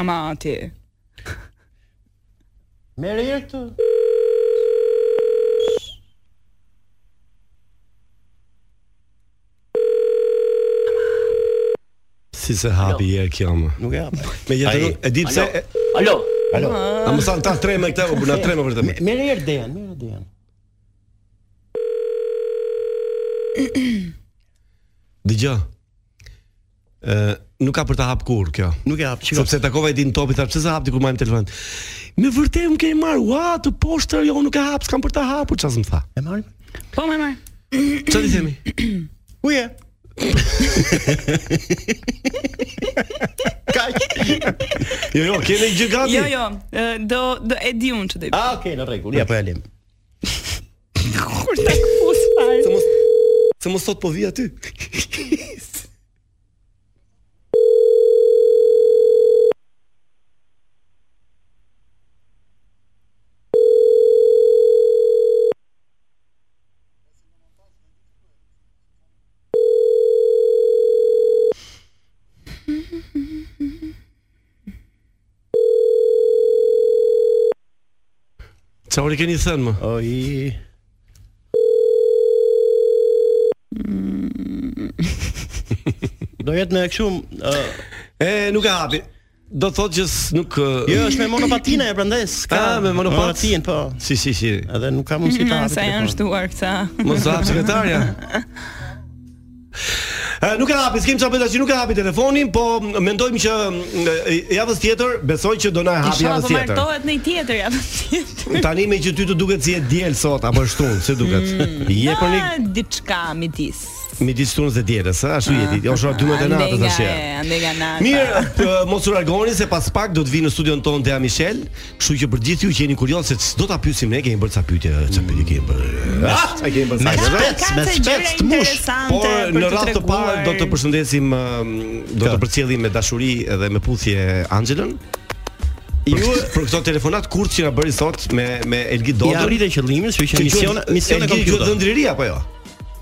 Ama ti.
Merë herë këtë.
Si se hapi je kjo më.
Nuk e hap.
Me jetë
Ai.
nuk e di pse.
Alo.
Alo. A më sa ta tre me këtë, u bëna tre me vërtet. me.
Merë herë Dejan, merë Dejan.
Dgjoj. Ë, nuk ka për ta hap kur kjo.
Nuk e hap. Shiko.
Sepse takova din topi, tha pse sa hapti kur majm telefon. Me vërtet më ke marr, ua, të poshtër, jo nuk e hap, s'kam për ta hapur, çfarë *clears throat* më tha.
E marrim.
Po më marr.
Çfarë i themi?
Ku je? Kaq.
Jo, jo, keni gjë gati.
Jo, jo, e, do do e di unë ç'do i bëj.
Ah, okay, në rregull. Ja po e lëm.
Kur ta kufus fare.
Se mos se mos thot po vi aty. Qa ori keni thënë më?
Oj. Mm. Do jetë me kështu uh,
E, nuk e hapi. Do thotë që s- nuk... ë,
Jo, është me monopatina e prandaj s'ka.
Ah, me monopat.
monopatin, po.
Si, si, si.
Edhe nuk ka mundësi ta
Ma,
hapi.
Mm, Sa
telefonin.
janë shtuar këta.
Mos hap sekretarja. E, nuk e hapi, s'kem çfarë bëj tash, nuk e hapi telefonin, po m- mendojmë që m, e, javës tjetër besoj që do na e hapi
Isha
javës
po
tjetër.
martohet në i tjetër javën tjetër.
Tani me që ty të duket si e diel sot apo është tunë, si duket? Je për një
Ah, diçka midis.
midis tunës dhe dielës, a ashtu jeti. Jo, është ora 12 e natës tash.
Andej nga e, andej nga nata.
Mirë, p- mos u largoni se pas pak do të vi në studion ton Dea Michel, kështu që për gjithë ju që jeni kurioz se ç'do ta pyesim ne, kemi bërë ca pyetje, ca pyetje kemi bërë. Ah, sa kemi bërë.
Me
sa-
spec,
ka
me
të
spec
gjëra
të mush.
interesante
Por
për
Po, në radhë të parë do të
treguar.
përshëndesim um, do të
Kë?
përcjellim me dashuri edhe me puthje Angelën. Për,
Ju-
për këto telefonat kurtë që na bëri sot me me Elgit
Ja
Dodën.
rritë qëllimin, kështu që misione misione
Elgit
kompjuter.
dhëndriri apo jo?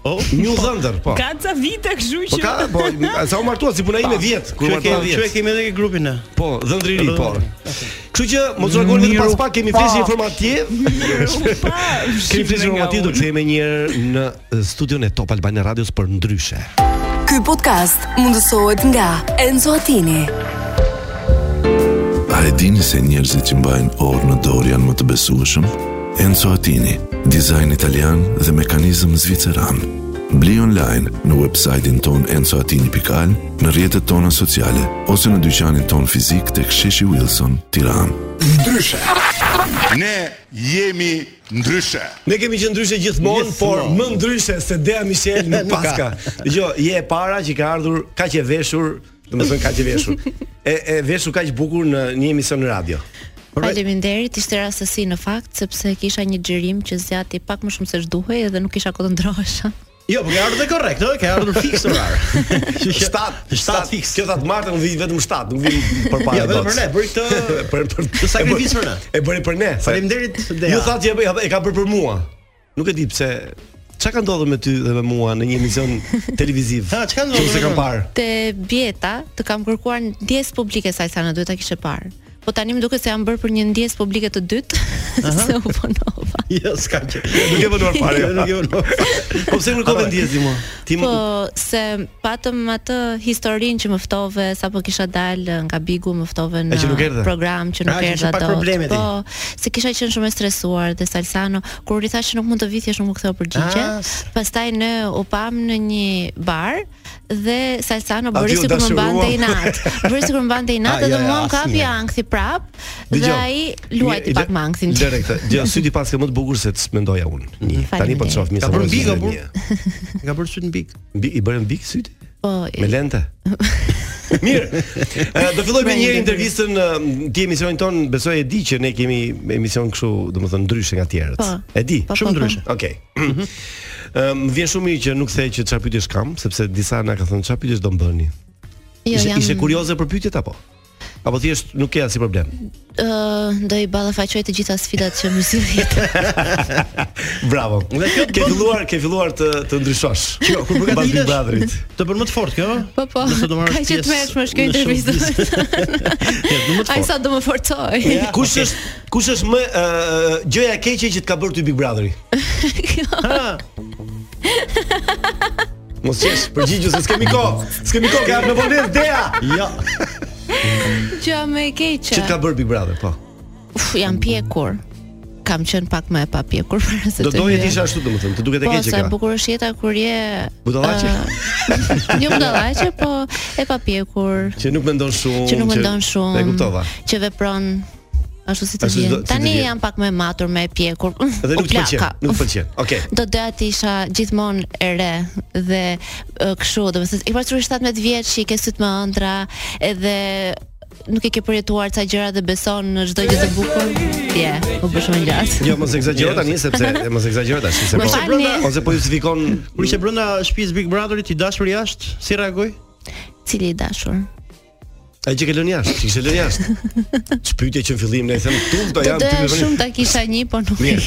Oh, New Thunder, po.
Ka ca vite kështu që.
Po ka, po, a sa u martua si puna ime 10, kur
Që e
martua
kemi-
10.
që e kemi edhe ke grupin ne.
Po, dhëndri i ri, po. Kështu që mos u
Miru
largoni vetëm pas pak kemi
pa.
flesë informativ. Kemi flesë
shqipën nga
informativ do
unë.
të kthehemi një herë në eh, studion e Top Albana Radios për ndryshe.
Ky podcast mundësohet nga Enzo Attini.
A e dini se njerëzit që mbajnë orë në dorë janë më të besueshëm? Enzo Attini, dizajn italian dhe mekanizëm zviceran. Bli online në websajtin ton enzoatini.al, në rrjetet tona sociale, ose në dyqanin ton fizik të ksheshi Wilson, tiran.
Ndryshe. Ne jemi ndryshe.
Ne kemi që ndryshe gjithmonë, por
Gjithmonë.
më ndryshe se Dea Michel nuk
*laughs*
Nuk
pas ka.
ka.
Dgjoj, je e para që ka ardhur kaq e veshur, domethënë kaq e veshur. E e veshur kaq bukur në një emision
*laughs*
radio.
Faleminderit, ishte rastësi në fakt sepse kisha një xhirim që zgjati pak më shumë se ç'duhej edhe nuk kisha kohë të ndrohesha. *laughs*
Jo, po ke ardhur dhe korrekt, ë, ke ardhur fiks orar.
7, 7 fiks. Kjo ta të martën vi vetëm 7, nuk vi
*laughs*
përpara.
*laughs* Ja, vetëm
dot.
për ne, bëri këtë
*laughs*
*laughs*
për për
këtë sakrificë për ne.
E bëri për ne. se-
Faleminderit Dea.
Ju thatë që e bë- e ka bërë për mua. Nuk e di pse çka ka ndodhur me ty dhe me mua në
*laughs*
një emision televiziv. Ha, çka ndodhur? Ju kam parë.
Te Bjeta të kam kërkuar ndjes publike sa sa në duhet ta kishe parë. Po tani më duket se jam bërë për një ndjes publike të dytë, *laughs* se u punova.
*laughs* Jo, s'ka që.
Nuk e
*laughs*
vonuar fare. jo.
Nuk e vonuar.
Po pse kërkove ndjesi mua? Ti
Po,
më
se patëm atë historinë që më ftove sapo kisha dalë nga Bigu, më ftove
E
në
që nuk erdhe?
program që
Ah,
nuk
që
erdha
kishe pak
dot.
probleme ti.
po, se kisha qenë shumë e stresuar dhe Salsano kur i thash që nuk mund të vi thjesht nuk më ktheu përgjigje.
Ah,
Pastaj ne u pam në një bar dhe Salsano
Aty
bëri
u
sikur më
dashuruam.
mbante inat. Bëri sikur më mbante
*laughs* Ah,
inat
jo,
edhe
jo,
mua më kapi
asnjëherë.
ankthi prap dhe
Dëgjoj.
ai luajti
Një-
pak me anktin. tim.
Lëre këtë.
*laughs*
Gjë syti pas ke më të bukur se s'mendoja unë. Tani po të shoh mi
Ka
se
bërë
më
bik, ka
zgjidhet një.
bërë. Ka bërë syt në bik.
Mbi i bërën bik syti?
Po,
Me
*laughs*
lente. Mirë. Eh, Do fillojmë me një herë intervistën eh, ti emisionin ton, besoj e di që ne kemi emision kështu, domethënë ndryshe nga tjerët.
Po.
E di,
Po, Shumë po, po. ndryshe.
Okej. *clears throat* Ëm më vjen shumë mirë që nuk the që çfarë pyetjesh kam, sepse disa na ka thënë çfarë pyetjesh do mbëni.
Jo,
Ishe,
jam-
ishe kurioze për pyetjet apo? Apo thjesht nuk ke asnjë problem.
Ë, do i ballafaqoj të gjitha sfidat që më zgjidhjet.
Bravo. Dhe kjo ke filluar, ke filluar të të ndryshosh. Jo, kur
përgatitesh-
Bradrit.
Të bën më të fortë kjo?
Po po.
Nëse do marrësh
Ka që të
pjesë
merresh më shkoj
në *laughs*
intervistën. Ai sa do më forcoj.
Ja, kush është kush është më uh, gjëja e keqe që të ka bërë ty Big
*laughs*
Brotheri? Mos qesh përgjigju se s'kemi kohë. S'kemi kohë, ka në vonesë dea. Jo.
*laughs* Gjë më e keqe.
Që të ka bërë Big Brother, po.
Uf, jam pjekur. Kam qenë pak më e papjekur para se
Do
të
doje
hyj.
të isha ashtu domethënë, të duket e
Po,
keqe
sa Ah. e
ka.
bukur është jeta kur je
Budallaqe. *laughs*
ë, jo budallaqe, po e papjekur,
Që nuk mendon shumë.
që nuk mendon shumë.
E kuptova.
Që vepron ashtu si të
Ashtu si
vjen.
do- si të
Tani
vjen.
jam pak më e matur, më e pjekur.
Dhe
*laughs* U
nuk të pëlqen,
plaka.
nuk të pëlqen. Okej.
Do doja të isha gjithmonë e re dhe e, kështu, domethënë i pasur 17 vjeç që i ke syt më ëndra edhe nuk e ke përjetuar ca gjëra dhe beson në çdo gjë të bukur. Je, u bësh më gjatë.
Jo,
*laughs*
mos egzagjero tani sepse e, mos egzagjero tash, sepse
Mos e falni.
ose po justifikon
Kur ishe brenda shtëpisë Big Brotherit, i dashur jashtë, si reagoi?
Cili i dashur?
ai që ke lënë jashtë, që kishe lënë jashtë.
*laughs*
Çpytje që në fillim ne i them tu
Do
këto janë
doja
me vënë-
shumë ta kisha një, po nuk.
Mirë.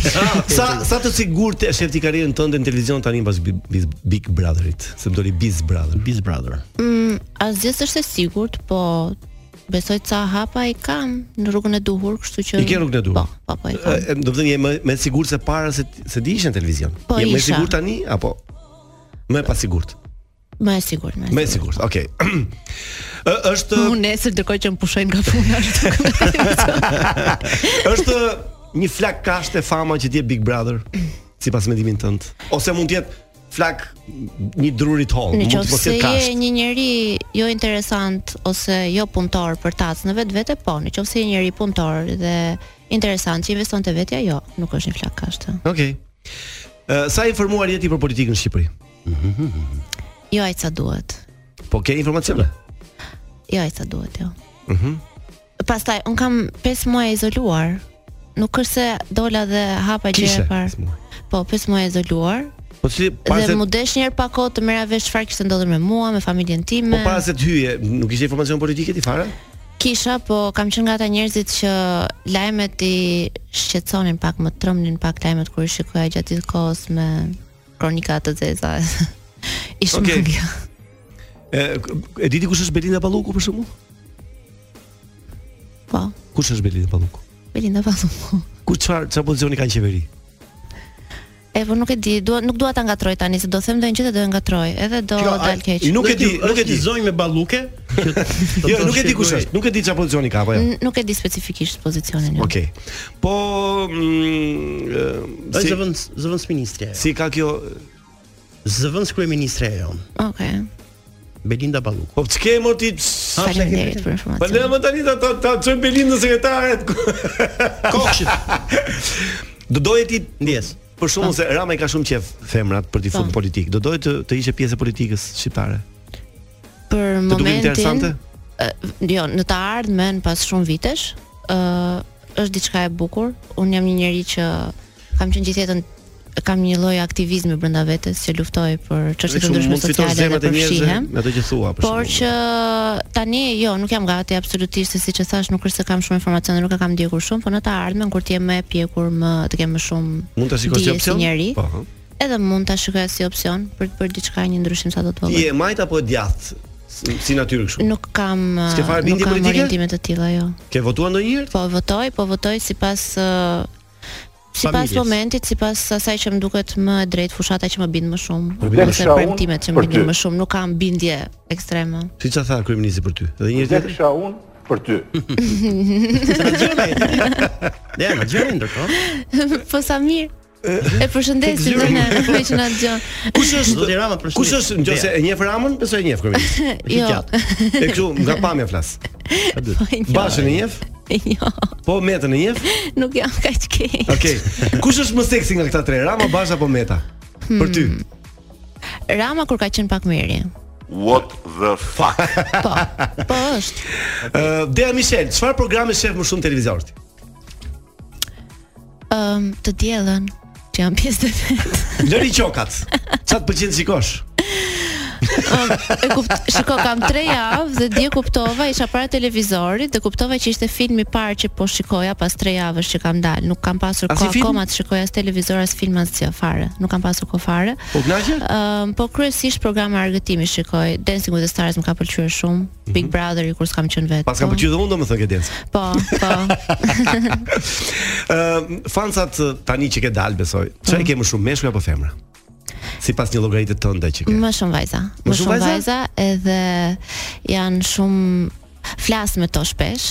Sa sa të sigurt e shef ti karrierën tënde në televizion tani pas Big, Big- Big Brotherit, se më doli Biz Brother.
Biz Brother.
Mm, *laughs* asgjë s'është e sigurt, po besoj ca hapa i kam në rrugën e duhur, kështu që
I ke rrugën e duhur.
Po, po, po. i kam.
E, Do të thënë je më më e sigurt se para se ti- se di ishe në televizion.
Po,
je më e
isha.
sigurt tani apo më e pasigurt?
Më e sigurt, më. e
Më e sigurt. Okej. *clears throat* Ë, Është
sigurt. Unë nesër ndërkohë që më pushojnë nga
*laughs*
puna ashtu.
është një flak kasht e fama që ti je Big Brother sipas mendimin tënd. Ose mund të jetë flak një drurit hall,
Në
mund të
qoftë
mos
se
jetë
je
kasht.
një njeri jo interesant ose jo punëtor për tacë në vetë vete, po, në qoftë se je një njeri punëtor dhe interesant që investon të vetja, jo, nuk është një flak jo. kashtë.
Okej. Ë, Sa informuar je ti për politikën në Shqipëri?
Jo ai sa duhet.
Po ke informacione?
Jo ai sa duhet, jo.
Mhm.
Pastaj un kam 5 muaj izoluar. Nuk është se dola dhe hapa gjë
Kishe
e parë. Po, 5 muaj izoluar.
Po si para
Dhe
se
mu desh një herë pa kohë të merra vesh çfarë kishte ndodhur me mua, me familjen time.
po para se të hyje, nuk ishte informacion politike ti fare?
Kisha, po kam qenë nga ata njerëzit që lajmet i shqetësonin pak, më trëmnin pak lajmet kur i shikoja gjatë gjithë kohës me kronika të zeza. *laughs* Ishte
Okej.
okay. kjo.
E, e diti kush është Belinda Palluku për shembull?
Po,
Kush është Belinda Palluku?
Belinda Palluku.
Ku çfarë çfarë pozicioni ka në qeveri?
E po nuk e di, dua nuk dua ta ngatroj tani se do them ndonjë gjë dhe do e ngatroj, edhe do
Kjo, a-
dal keq.
nuk e di, nuk e di.
Zonjë me balluke?
*laughs*
Po
Jo, nuk e di kush është, nuk e di çfarë pozicioni ka apo jo.
N- Nuk e di specifikisht pozicionin. jo.
Okej. Po mm, e,
Ai zëvend zëvend ministri.
Si ka kjo
zëvend kryeministre ajo?
Okej.
Belinda Balluku.
Po ç'ke më ti?
Faleminderit për informacion.
Po ne më tani ta ta, ta çojmë Belin në sekretaret.
Kokshit.
Do doje ti
ndjes.
Për shkakun se Rama i ka shumë qef femrat për t'i fut në
Po.
politik. Do doje të të ishe pjesë e politikës shqiptare.
Për
Të duket interesante?
momentin. ë, Jo, në të ardhmen pas shumë vitesh, ë është diçka e bukur. Unë jam një njerëz që kam qenë gjithë jetën kam një lloj aktivizmi brenda vetes që luftoj për çështje të
Vetëm
ndryshme
mund të fitosh
sociale dhe
zemrat e njerëzve
përfshihem.
me ato që thua për
Por që tani jo, nuk jam gati absolutisht se siç e thash, nuk është se kam shumë informacion dhe nuk e kam ndjekur shumë, por në të ardhmen kur ti je më e pjekur, më të ke më shumë
Mund ta shikosh si
dije
opsion?
Si njeri,
Po. ha.
edhe mund ta shikoj si opsion për të bërë diçka një ndryshim sa do të
Ti
vogël.
je majt apo e djathtë? Si- Si natyrë kështu.
Nuk kam uh,
S'ke fare
nuk
bindje
kam
politike?
orientime të tilla, jo.
Ke votuar ndonjëherë?
Po votoj, po votoj sipas uh, sipas
Familjes.
momentit, sipas asaj që më duket më e drejtë, fushata që më bind më shumë,
Përbind
ose
më shumë.
premtimet që më
Për ty.
bindin më shumë, nuk kam bindje ekstreme.
Si çfarë tha kryeministi për ty? Edhe një
Vdek
tjetër?
unë për ty.
Ja, ma gjeni ndërkohë.
*laughs* po sa mirë. E
*laughs*
përshëndesim dhe ne *laughs* me që na dëgjon.
Kush është
Zoti Rama përshëndet.
Kush është nëse e njeh Ramën, besoj e njeh
*laughs*
kryeministin.
Jo. Po,
E kështu
*laughs*
nga pamja flas. Bashën e njeh?
Jo,
Po Metën e njeh?
nuk jam kaq keq. *laughs*
Okej. Kush është më seksi nga këta tre? Rama, Basha apo Meta?
Hmm.
Për ty.
Rama kur ka qenë pak më i ri.
What the fuck?
Po, po është.
Ë, Dea Michel, çfarë programe shef më shumë në televizor ti?
Ëm, Ehm, të diellën që jam pjesë të vet. *laughs*
Lëri qokat. Çfarë të pëlqen të shikosh?
Ëm, e kupt, shiko kam 3 javë dhe dje kuptova isha para televizorit dhe kuptova që ishte filmi i parë që po shikoja pas 3 javësh që kam dal. Nuk kam pasur
As i
kohë
film?
akoma të shikoj as televizor as film as gjë fare. Nuk kam pasur kohë fare.
Po kënaqe?
Ëm, po kryesisht programe argëtimi shikoj. Dancing with the Stars më ka pëlqyer shumë. Big Brother i kur s'kam qenë vetë.
Mhm. Pas kam
po.
pëlqyer dhe unë domethënë ke dancë.
Po, po.
Ë, fansat ë, tani që ke dal besoj. Çfarë
Hmm.
ke më shumë, meshkuj apo femra? Sipas një llogaritë tënde që ke.
Më shumë vajza. Më shumë vajza edhe janë shumë flas me to shpesh.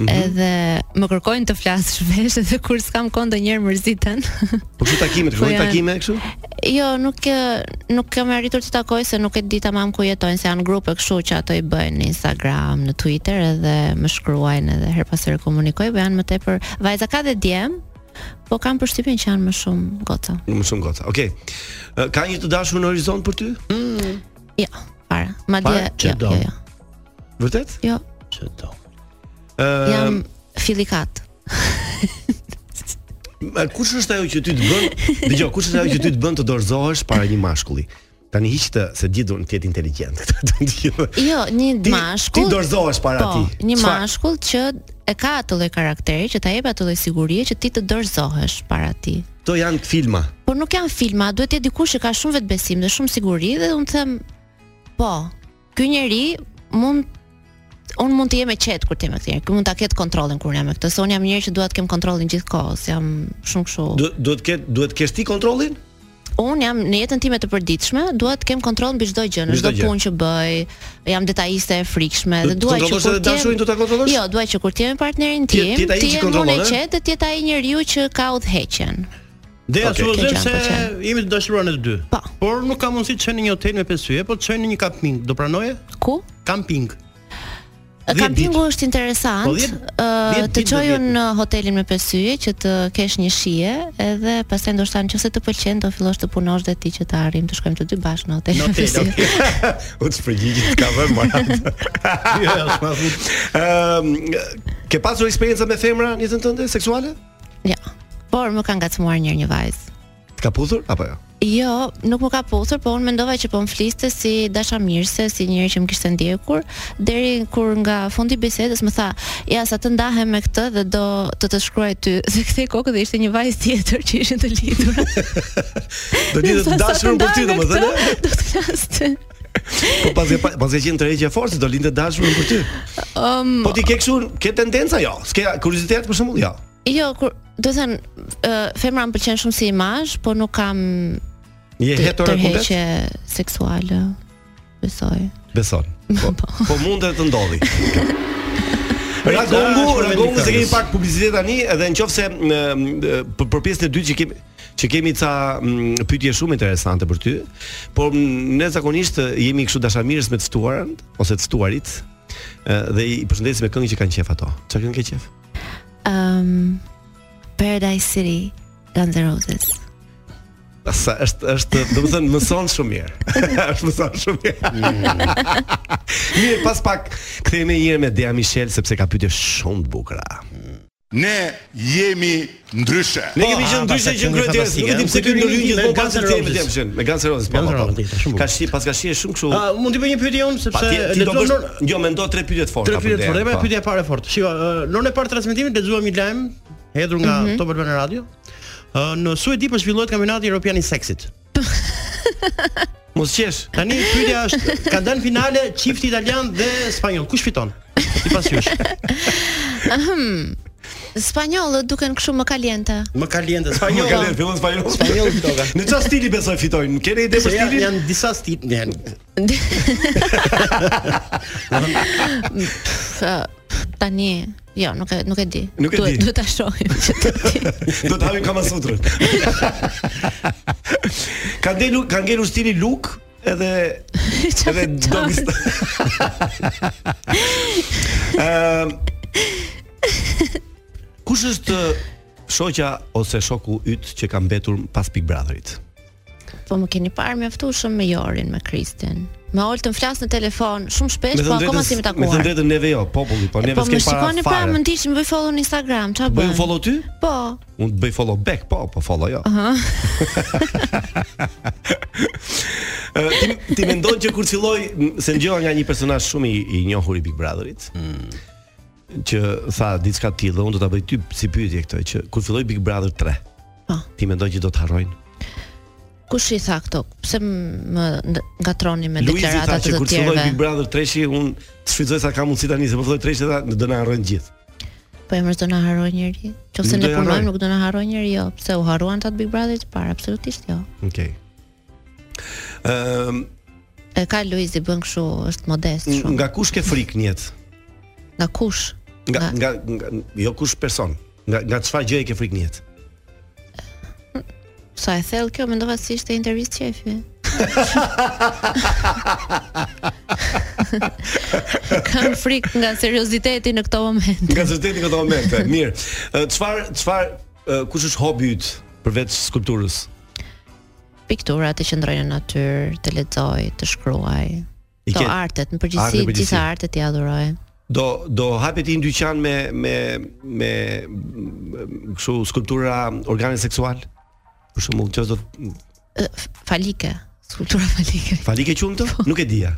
Mhm.
Edhe më kërkojnë të flas *laughs* shpesh edhe kur s'kam kohë ndonjëherë mërziten. *laughs*
Po kështu takime, të
Po
kërkojnë
janë-
takime kështu?
jo, nuk e- nuk kam arritur të takoj se nuk e di tamam ku jetojnë, se janë grupe kështu që ato i bëjnë në Instagram, në Twitter edhe më shkruajnë edhe her pas here komunikoj, po janë më tepër vajza ka dhe djem, po kam përshtypjen që janë më shumë goca.
Më shumë goca. Okej. Ë, Ka një të dashur në horizont për ty?
Jo, para. Madje
Fare? Që
jo,
do.
jo, jo.
Vërtet?
Jo,
Ë,
jam fillikat.
Ma, Kush është ajo që ty të bën? Dgjoj, kush është ajo që ty të bën të dorëzohesh para një mashkulli? Tani hiq të se gjithë duan të jetë *laughs* inteligjent. Të gjithë.
Jo, një
Ti-
mashkull.
ti dorëzohesh para
po,
atij.
Një
Çfarë?
mashkull që e ka atë lloj karakteri, që ta jep atë lloj sigurie që ti të dorëzohesh para atij.
Kto janë filma.
Por nuk janë filma, duhet të jetë dikush që ka shumë vetbesim dhe shumë siguri dhe unë them, po, ky njeri mund un mund të jem e qetë kur të jem me këtë njerëz. Ky mund ta ketë kontrollin kur jam me këtë. Se un jam një njerëz që dua të kem kontrollin gjithkohës. Jam shumë kështu.
Du- Duhet të ketë duhet të kesh ti kontrollin?
Un jam në jetën time të përditshme, dua të kem kontroll mbi çdo gjë, në
Mbi çdo
çdo
gjë.
punë që bëj. Jam detajiste e frikshme
Do-
dhe dua
do
që
kontrollosh
kur
edhe dashurin, do ta kontrollosh?
Jo, dua që kur të jemi partnerin
Ti-
tim,
ti jetë ai
ti
që eh?
je
kontrollon,
unë e
e?
qetë dhe ti je ai njeriu që ka udhëheqjen.
Dhe
Okej.
okay. supozojmë
Kjo
se
gjë më pëlqen.
jemi të dashuruar në të dy.
Po.
Por nuk ka mundësi të shënë në një hotel me pesë yje, po të shënë në një camping. Do pranoje?
Ku?
Camping. Dhjetë
Kampingu
ditë.
është interesant.
Po, dhjetë-
Ë,
dhjetë
të
ditë do
çoj
vjetë.
unë në hotelin me pesë yje që të kesh një shije, edhe pastaj ndoshta nëse të pëlqen do fillosh të punosh dhe ti që të arrim të shkojmë të dy bashkë në hotel.
Në
*laughs* me
hotel,
pesë yje.
okej. *laughs* U të shpërgjigjit ka vënë morat.
*laughs*
Jo, jo, s'ma fut.
Ëm ke pasur eksperjenca me femra
Jo.
në jetën tënde seksuale?
Ja. Por më ka ngacmuar njërë një vajzë.
Të ka puthur apo jo?
Jo, nuk më ka posur, po unë mendova që po më fliste si dashamirëse, si njëri që më kishte ndjekur, deri kur nga fundi i bisedës më tha, "Ja, sa të ndahem me këtë dhe do të të shkruaj ty." *laughs* Dhe kthej kokën dhe ishte një vajzë tjetër që ishin të lidhura.
Do një të
Sa- sa
dashur për ty,
ndahem me
domethënë.
këtë, Do të flas ty.
eh? Po pas e pas e qenë tërheqje e forcë, do lindë dashur për ty.
Um,
Po ti ke kështu ke tendenca jo, s'ke kuriozitet për shembull jo.
Jo, kur do të thënë, ë, femra më pëlqen shumë si imazh, po nuk kam
Je
të-
hetero komplet?
tërheqje seksuale. Besoj.
Beson. Po, po mundet të *laughs* ndodhi. Ragongu,
Ragongu,
Ragongu se kemi
pak
pak publicitet tani edhe nëse për, për pjesën e dytë që kemi që kemi ca mm, pyetje shumë interesante për ty, por mm, ne zakonisht eh, jemi kështu dashamirës me të ftuarën ose të ftuarit eh, dhe i përshëndesim me këngë që kanë qef ato. Çfarë këngë ke qef?
Um, Paradise City, Guns N' Roses.
Sa është është domethënë mëson shumë *laughs* mirë. është mëson shumë mirë. mirë, pas pak kthehemi një herë me Dea Michel sepse ka pyetje shumë të bukura.
Ne jemi ndryshe.
Ne kemi qenë ndryshe që në kryetë, nuk e di pse ky ndryshim gjithmonë pas të temës temshën, me Guns N' Roses. po, po, po. Ka shi, pas ka shi shumë kështu.
A, mund të bëj një pyetje unë sepse
Patjetër, ti do
lexuam
bësh,
nor-
jo mendo tre pyetje të forta.
Tre pyetje të forta,
për
e pyetja e parë e fortë. Shiko, ë, në orën e parë të transmetimit lexuam një lajm hedhur nga
Mhm.
Top Albana Radio. Ë, Në Suedi po zhvillohet kampionati evropian i seksit.
Mos qesh.
Tani pyetja është, ka dalë finale çifti italian dhe spanjoll. Kush fiton? Sipas jush.
Ahem. Spanjollët duken kështu më kaliente.
Më kaliente
Spanjoll.
spanjoll.
Ka lënë fillon spanjoll.
Spanjoll fitoka.
Në çfarë stili besoj fitojnë? Keni ide
Se
për
janë-
Po, stilin?
Janë disa stile, janë
Pff, Tani, jo, nuk e nuk e di.
Nuk e
duhet
di.
duhet ta shohim.
*laughs*
që të-
Do të havim kama
*laughs*
sutrën. ka ngelur ka ngelur stili luk edhe edhe dogis. Ëm Ehm, Kush është shoqja ose shoku yt që ka mbetur pas Big Brotherit?
*laughs* Po më keni parë mjaftueshëm me Jorin, me Kristin. Me Oltën flas në telefon shumë shpesh, po akoma si më
me të
takuar.
drejtën neve jo, populli, po neve
Po më
s'kem para
shikoni pra, më
fare.
ndiqni, më bëj follow në Instagram, ç'a bën?
Bëj un follow ty?
Po.
Unë të bëj follow back, po, po follow jo.
Aha.
*laughs* Ë, ti ti mendon që kur filloi m, se ngjova nga një personazh shumë i, i njohur i Big Brotherit,
Hmm.
që tha diçka të tillë, unë do ta bëj ty si pyetje këtë që kur filloi Big Brother 3.
Po.
Ti mendon që do të harrojnë?
Kush i tha këto? Pse m- më nd- ngatroni me
Luizi tha
deklaratat
që
të të
kur filloi Big
tjerëve?
Brother 3-shi, unë të shfrytëzoj sa ka mundësi tani, se po filloi 3-shi tha do na harrojnë gjithë.
Po emër do na harroj njëri. Nëse
Nuk do
ne
i harroj.
punojmë nuk do na harroj njëri, jo. Pse u harruan tat Big Brotherit të parë? Absolutisht jo.
Okej. Ëm
E ka Luizi bën kështu, është modest shumë.
nga kush ke frikë në jetë?
Nga kush?
Nga nga, nga jo kush person. Nga nga çfarë gjë e ke frikë në jetë?
Sa e thellë kjo, mendova se ishte intervistë qefi.
*laughs*
Kam frikë nga serioziteti në këto momente.
Nga zërteti në këto
*laughs*
momente. Mirë. Ë, Çfarë çfarë ë, kush është hobi yt përveç skulpturës?
Piktura të qëndrojnë në natyrë, të lexoj, të shkruaj.
I
Këto
ke-
artet, në
Artet në
përgjithësi
përgjithësi.
gjitha artet i adhuroj.
Do do hapet i një dyqan me me me m, kështu skulptura organe seksual. Për shembull, çfarë do
Ë, f- Falike, skulptura falike. *laughs*
falike quhen
Po.
këto? Nuk e dija.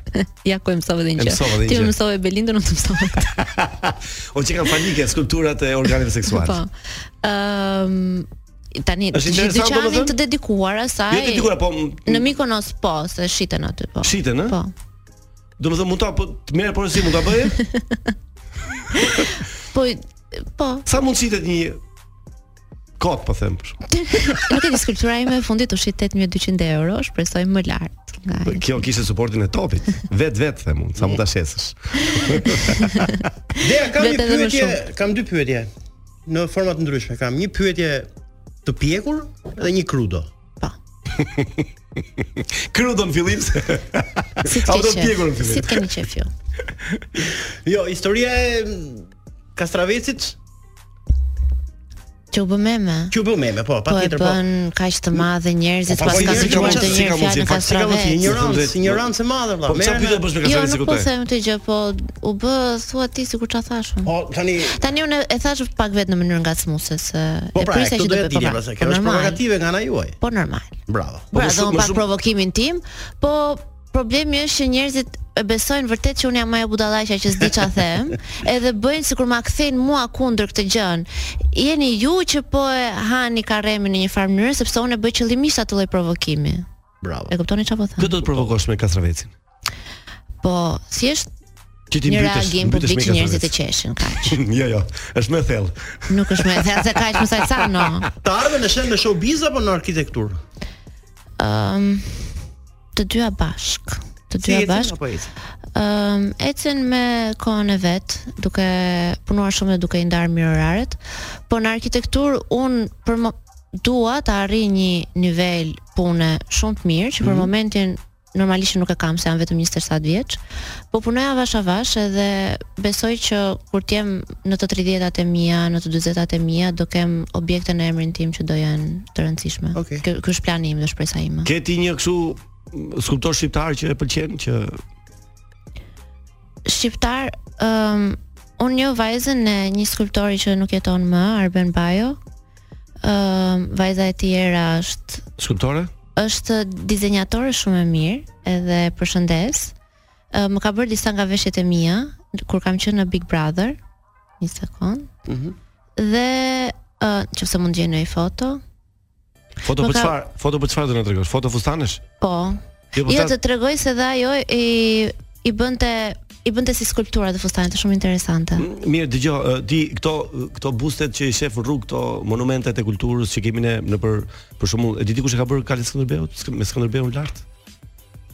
Ja ku e mësove dhe
E
një
mësove dhe
gjë.
një
Ti
gjë.
më mësove Belindën, unë të mësova
*laughs*
këtë.
O që kanë falike skulpturat e organeve seksuale.
Po. Ëm tani
Është
gjithë
interesant,
dyqanin
domethënë?
të dedikuar
Jo
asaj.
të dikura, po m-
Në Mikonos po, se shiten aty po.
shiten, ë?
Po.
Do të thonë mund ta po të merre porosi mund ta bëje?
Po po.
Sa mund shitet një kot po them. për shembull?
Nuk e di skulptura ime e fundit u shit 8200 euro, shpresoj më lart nga
Po,
ai.
Kjo kishte suportin e topit. Vet vet them unë, sa mund ta shesësh.
Dea, kam një
Vetë edhe më
pyetje,
shumë.
kam dy pyetje në forma të ndryshme. Kam një pyetje të pjekur dhe një crudo.
Krudon fillim. se-
Si të
Au, do
ke
të
qef?
pjekur në fillim.
Si të keni qef ju?
Jo, historia e mm, Kastravecit
Që u bë meme.
Që u bë meme, po, patjetër po.
Po e bën kaq të madhe njerëzit
Po, po,
pas ka
njerëzit
dëgjuar
kanë
të
qenë- si
një
ka mundsi,
fjalë
fakt, si ka mundsi, ignorancë,
kastrave.
ignorancë e madhe, vëlla. Po, pse Merre- pyet bësh me
Jo,
kastrarin si
nuk po
kuptoj?
them të gjë, po u bë thua ti sikur ça thashun.
Po tani
tani unë e thash pak vetë në mënyrë ngacmuese se
Po pra,
prisa
këtë
që
do
të
të
bëj, po
dini
pra,
pastaj.
po
Kjo është
normal.
provokative nga ana juaj.
Po normal.
Bravo.
Po pra, do pak provokimin tim, po problemi është që njerëzit e besojnë vërtet që unë jam ajo budallaqja që s'di ç'a
*laughs*
them, edhe bëjnë sikur ma kthejnë mua kundër këtë gjën. Jeni ju që po e hani karremin në një farë mënyrë sepse unë e bëj qëllimisht atë lloj provokimi.
Bravo.
E kuptoni çfarë po them?
Kë do të provokosh me kastravecin?
Po, si është
Që ti
një
mbytesh-
reagim
mbytesh
publik
me
që njerëzit e
kastravecin.
qeshin kaq.
*laughs* jo, jo, është më thellë.
Nuk është më thellë se kaq më sa sa no.
*laughs*
Të ardhme në shenjë në showbiz apo në arkitekturë?
Ëm të dyja bashk. Të
Si
dyja
ecin
bashk.
apo ecin?
Ëm Ehm, ecën me kohën e vet, duke punuar shumë dhe duke i ndarë mirë oraret, po në arkitektur un për mo- dua të arrij një nivel pune shumë të mirë, që për
Mhm.
momentin normalisht nuk e kam se jam vetëm 27 vjeç, po punoj avash avash edhe besoj që kur të jem në të 30-tat e mia, në të 40-tat e mia do kem objekte në emrin tim që do janë të rëndësishme. Okay. Ky ky është plani im dhe shpresa ime.
Ke ti një kështu mm, skulptor shqiptar që e pëlqen që
shqiptar, ëm unë njoh vajzën e një skulptori që nuk jeton më, Arben Bajo. Ëm vajza e tjera është
skulptore?
është dizenjatore shumë e mirë, edhe përshëndes. Ë, Më ka bërë disa nga veshjet e mia kur kam qenë në Big Brother. Një sekond.
Mhm.
Dhe ë, nëse mund gjej një foto.
Foto për
Më Po ka-
çfarë? Foto për çfarë do na tregosh? Foto fustanesh?
Po.
Jo, po
Jo,
flas-
të tregoj se dhe ajo i i bënte i bënte si skulptura dhe fustane të shumë interesante.
Mirë, dëgjoj, ë, ti këto këto bustet që i shef në rrugë, këto monumentet e kulturës që kemi ne në për për shembull, e di dikush e ka bërë Kali Skënderbeut, Skë- me Skënderbeun lart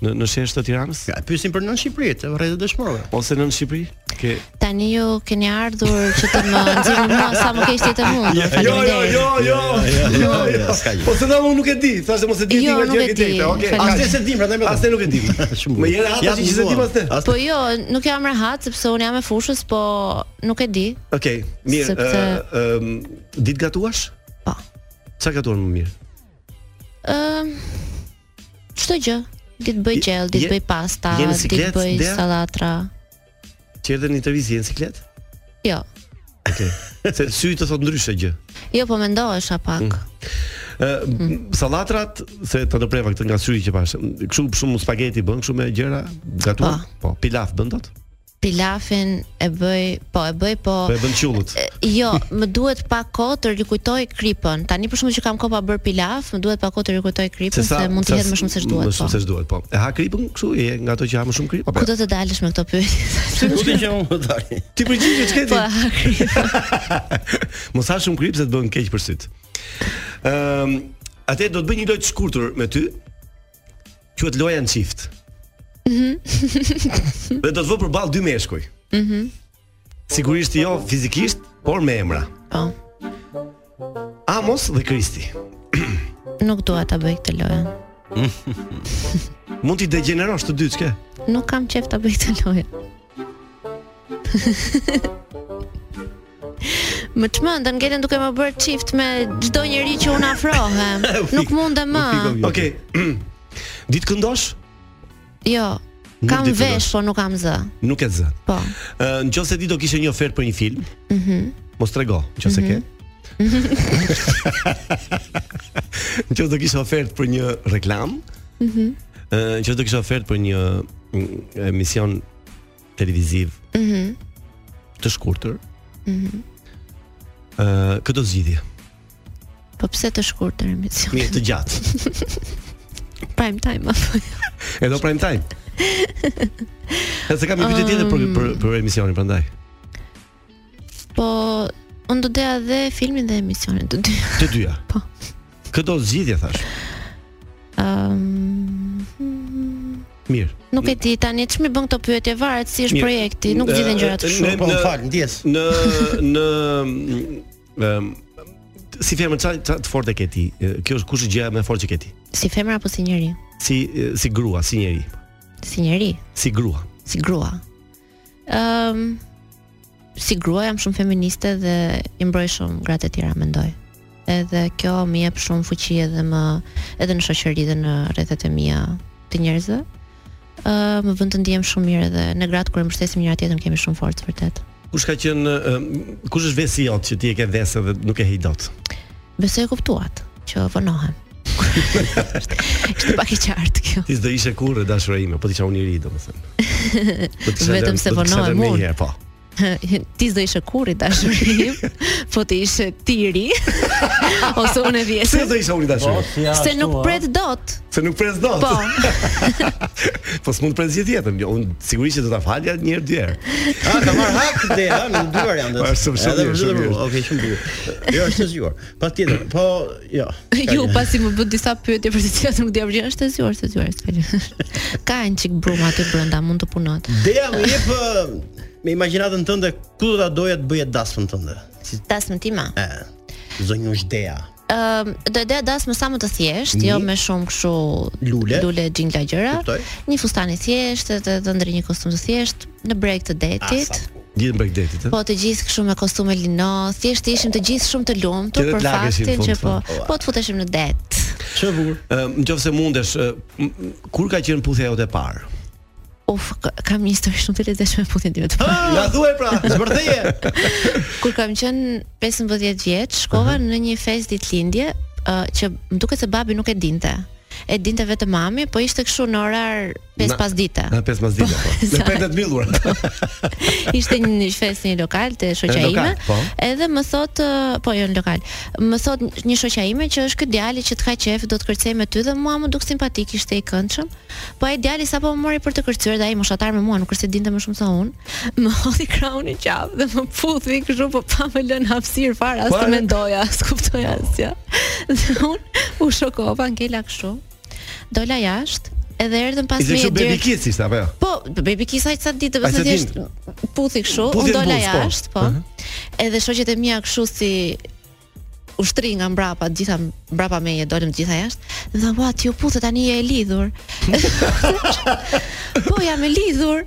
në në shesh të Tiranës?
Ja, pyesin për nën Shqipëri, të rrezet dëshmorove.
Ose nën Shqipëri? Ke
Tani ju keni ardhur që të
*laughs*
më nxjerrni mua sa më keq jetë mund.
Jo, jo, jo, jo. Jo, jo, s'ka gjë. Po se na unë nuk e di, thashë mos e di ti
Jo,
nga
nuk
gjë
e
e
di,
tjetër. Okej.
falem.
Asnjë se di, prandaj më. Asnjë nuk e di. Më jera hata që se di pas te.
Po jo, nuk jam rehat sepse unë jam e fushës, po nuk e di.
*laughs* Okej, mirë.
Sepse-
ë, Ëm, ditë gatuash?
Po.
Çfarë gatuan më mirë?
Ëm çdo gjë. Ditë bëj gjell,
je-
ditë bëj pasta,
je në
ditë
siklet,
bëj
Dea?
sallatra.
Që erdhën në intervistë në siklet?
Jo.
*laughs* Okej. Se sy të thot ndryshe gjë.
Jo, po mendohesha pak.
Mm. Ë sallatrat se ta do preva këtë nga syri që pash. Kështu shumë spageti bën, kështu me gjëra, gatuan. Po, pilaf bën dot?
Pilafin e bëj, po e bëj, po
Po e bën qullët.
Jo, më duhet pak kohë të rikujtoj kripën. Tani për shkak që kam kohë pa bër pilaf, më duhet pak kohë të rikujtoj kripën se, mund të jetë më shumë se
Më
duhet.
shumë
Po.
se duhet, po. E ha kripën kështu, e je nga ato që ha më shumë krip apo?
Ku do të dalësh me këto pyetje? *laughs*
Nuk e gjem unë tani.
Ti përgjigjesh çka
Po, ha, kripë.
*laughs* Mos ha shumë krip se të bën keq për syt. Ëm, atë do të bëj një lojë të shkurtër me ty. Quhet loja në çift.
Mhm.
Dhe do të vë përballë dy meshkuj.
Mhm.
Sigurisht jo fizikisht, por me emra.
Po.
Amos dhe Kristi.
Nuk dua ta bëj këtë lojë.
Mund t'i degenerosh të dy çka?
Nuk kam qef ta bëj këtë lojë. *laughs* Më të mëndën, ngelen duke më bërë qift me çdo njeri që unë *laughs* afrohem. Nuk mundem më.
Okej. *clears throat* Ditë këndosh?
Jo,
Nuk
kam
di të
vesh, po nuk kam zë.
Nuk e zë.
Po.
Ë, Nëse ti do kishe një ofertë për një film,
Mhm.
mos trego, nëse
Mhm.
ke. *laughs* Nëse do kishe ofertë për një reklam,
Mhm.
ë, nëse do kishe ofertë për një mm, emision televiziv
Mhm.
të shkurtër,
Mhm.
ë, këtë do zgjidhje.
Po pse të shkurtër emisioni?
Mirë, të gjatë.
Prime time *laughs* apo?
E do prime
*laughs*
time. Edhe kam një pyetje tjetër për për
Um.
për emisionin prandaj.
Po unë do doja dhe filmin dhe emisionin të dy.
Të dyja.
Po.
Këto zgjidhje thash.
Ëm
Mirë.
Nuk e di tani ç'më bën këto pyetje varet si është
Mirë.
projekti, nuk
Në-
zgjidhen gjërat kështu.
në-
Po,
në-
më fal.
ndjes.
Në në ëm si femër çfarë çfarë të fortë ke ti? E, Kjo është kush është gjëja më e fortë që ke ti?
Si femër apo si njeri?
Si e, si grua, si njeri,
Si njeri,
si grua.
si grua. Ëm si grua jam shumë feministe dhe i mbroj shumë gratë e tjera mendoj. edhe kjo më jep shumë fuqi edhe më edhe në shoqëri dhe në rrethet e mia të njerëzve. Ë më vën të ndihem shumë mirë edhe në gratë kur e mbështesim njëra tjetrën kemi shumë forcë vërtet.
Kush ka qenë ë, kush është vesi jot që ti e ke dhënë dhe nuk e hej dot?
Besoj e kuptuat që vonohem. *laughs* Ishte pak e qartë kjo.
Ti s'do ishe kurrë dashura ime, po ti isha unë i ri domethënë. Do të kisha
Vetëm
lënë-
se
do të kisha
vonohem
lënë një
unë.
herë, Po.
ti s'do ishe kurri *laughs* dashurim, po ti ishe *laughs* tiri, ose unë e vjesë.
Pse do isha unë i dashur?
Po, si ashtu, Se nuk a? pret dot.
Se nuk pres dot.
Po.
po s'mund të pres gjithë jetën. jo, Unë sigurisht që do ta falja një herë dy herë.
Ah, ka marr hak dhe ha në dy variante.
Po, është shumë shumë mirë, shumë mirë.
Okej, shumë mirë. Jo, është e zgjuar. Patjetër, po *laughs* jo.
*laughs* Ju pasi më bë disa pyetje për të cilat nuk dija përgjigje, është e zgjuar, është e zgjuar. s'fal. *laughs* Ka një çik brum aty brenda, mund të punon.
Dea më jep ë, me imagjinatën tënde ku do ta doja të bëje dasmën tënde. Si
Dasmën time.
ë, zonjush Dea.
Ëm, do e doja dasmë sa më të thjesht, jo
Një.
me shumë kështu
Lule.
lule gjingla gjëra.
Kuptoj.
Një fustan i thjesht, të të ndrej një kostum të thjesht në breg të detit.
Gjithë break detit,
Po të gjithë kështu me kostume lino, thjesht ishim të gjithë shumë të lumtur
Që
për
të lageshim
faktin
fund,
që po,
fund.
po të futeshim në det.
Çe bukur.
Nëse mundesh, ë, m- m- kur ka qenë puthja jote e parë?
Uf, ka- kam një histori shumë të lezetshme me puthjen time të
*laughs*
Ah,
parë.
Na thuaj pra, zbërtheje.
*laughs* Kur kam qenë 15 vjeç, shkova në një fest ditëlindje uh, që më duket se babi nuk e dinte. E dinte vetëm mami, po ishte kështu në orar 5
Na-
pas dite.
Na pesë pas dite, po. Me
*laughs* sa-
pendet millura.
*laughs* Ishte një një fest në një lokal të shoqja
Në lokal,
ime.
po.
Edhe më thot, uh, po jo në lokal. Më thot një shoqja ime që është ky djali që të ka qejf, do të kërcej me ty dhe mua më duk simpatik, ishte i këndshëm. Po ai djali sapo më mori për të kërcyer dhe ai moshatar me mua, nuk është se dinte më shumë se unë. Më hodhi krahun i qafë dhe më puthi kështu po pa më lënë hapësirë fare as
Po,
Fare.
të mendoja, as kuptoj asgjë. *laughs* Dhe unë u shokova ngela kështu. Dola jashtë edhe erdhën pas
Ishte
meje
kështu baby
direkt-
kiss ishte apo jo?
Po, baby kisa i ca ditë,
Ai
vetëm
sa
thjesht
ditë?
puthi kështu,
Puthi
unë
në
dola
buzë, po.
jashtë, po.
Aha.
Edhe shoqet e mia kështu si ushtri nga mbrapa, të gjitha mbrapa meje dolëm të gjitha jashtë. Dhe tha, "Ua, ti u puthe tani je e lidhur."
*laughs*
po jam e lidhur.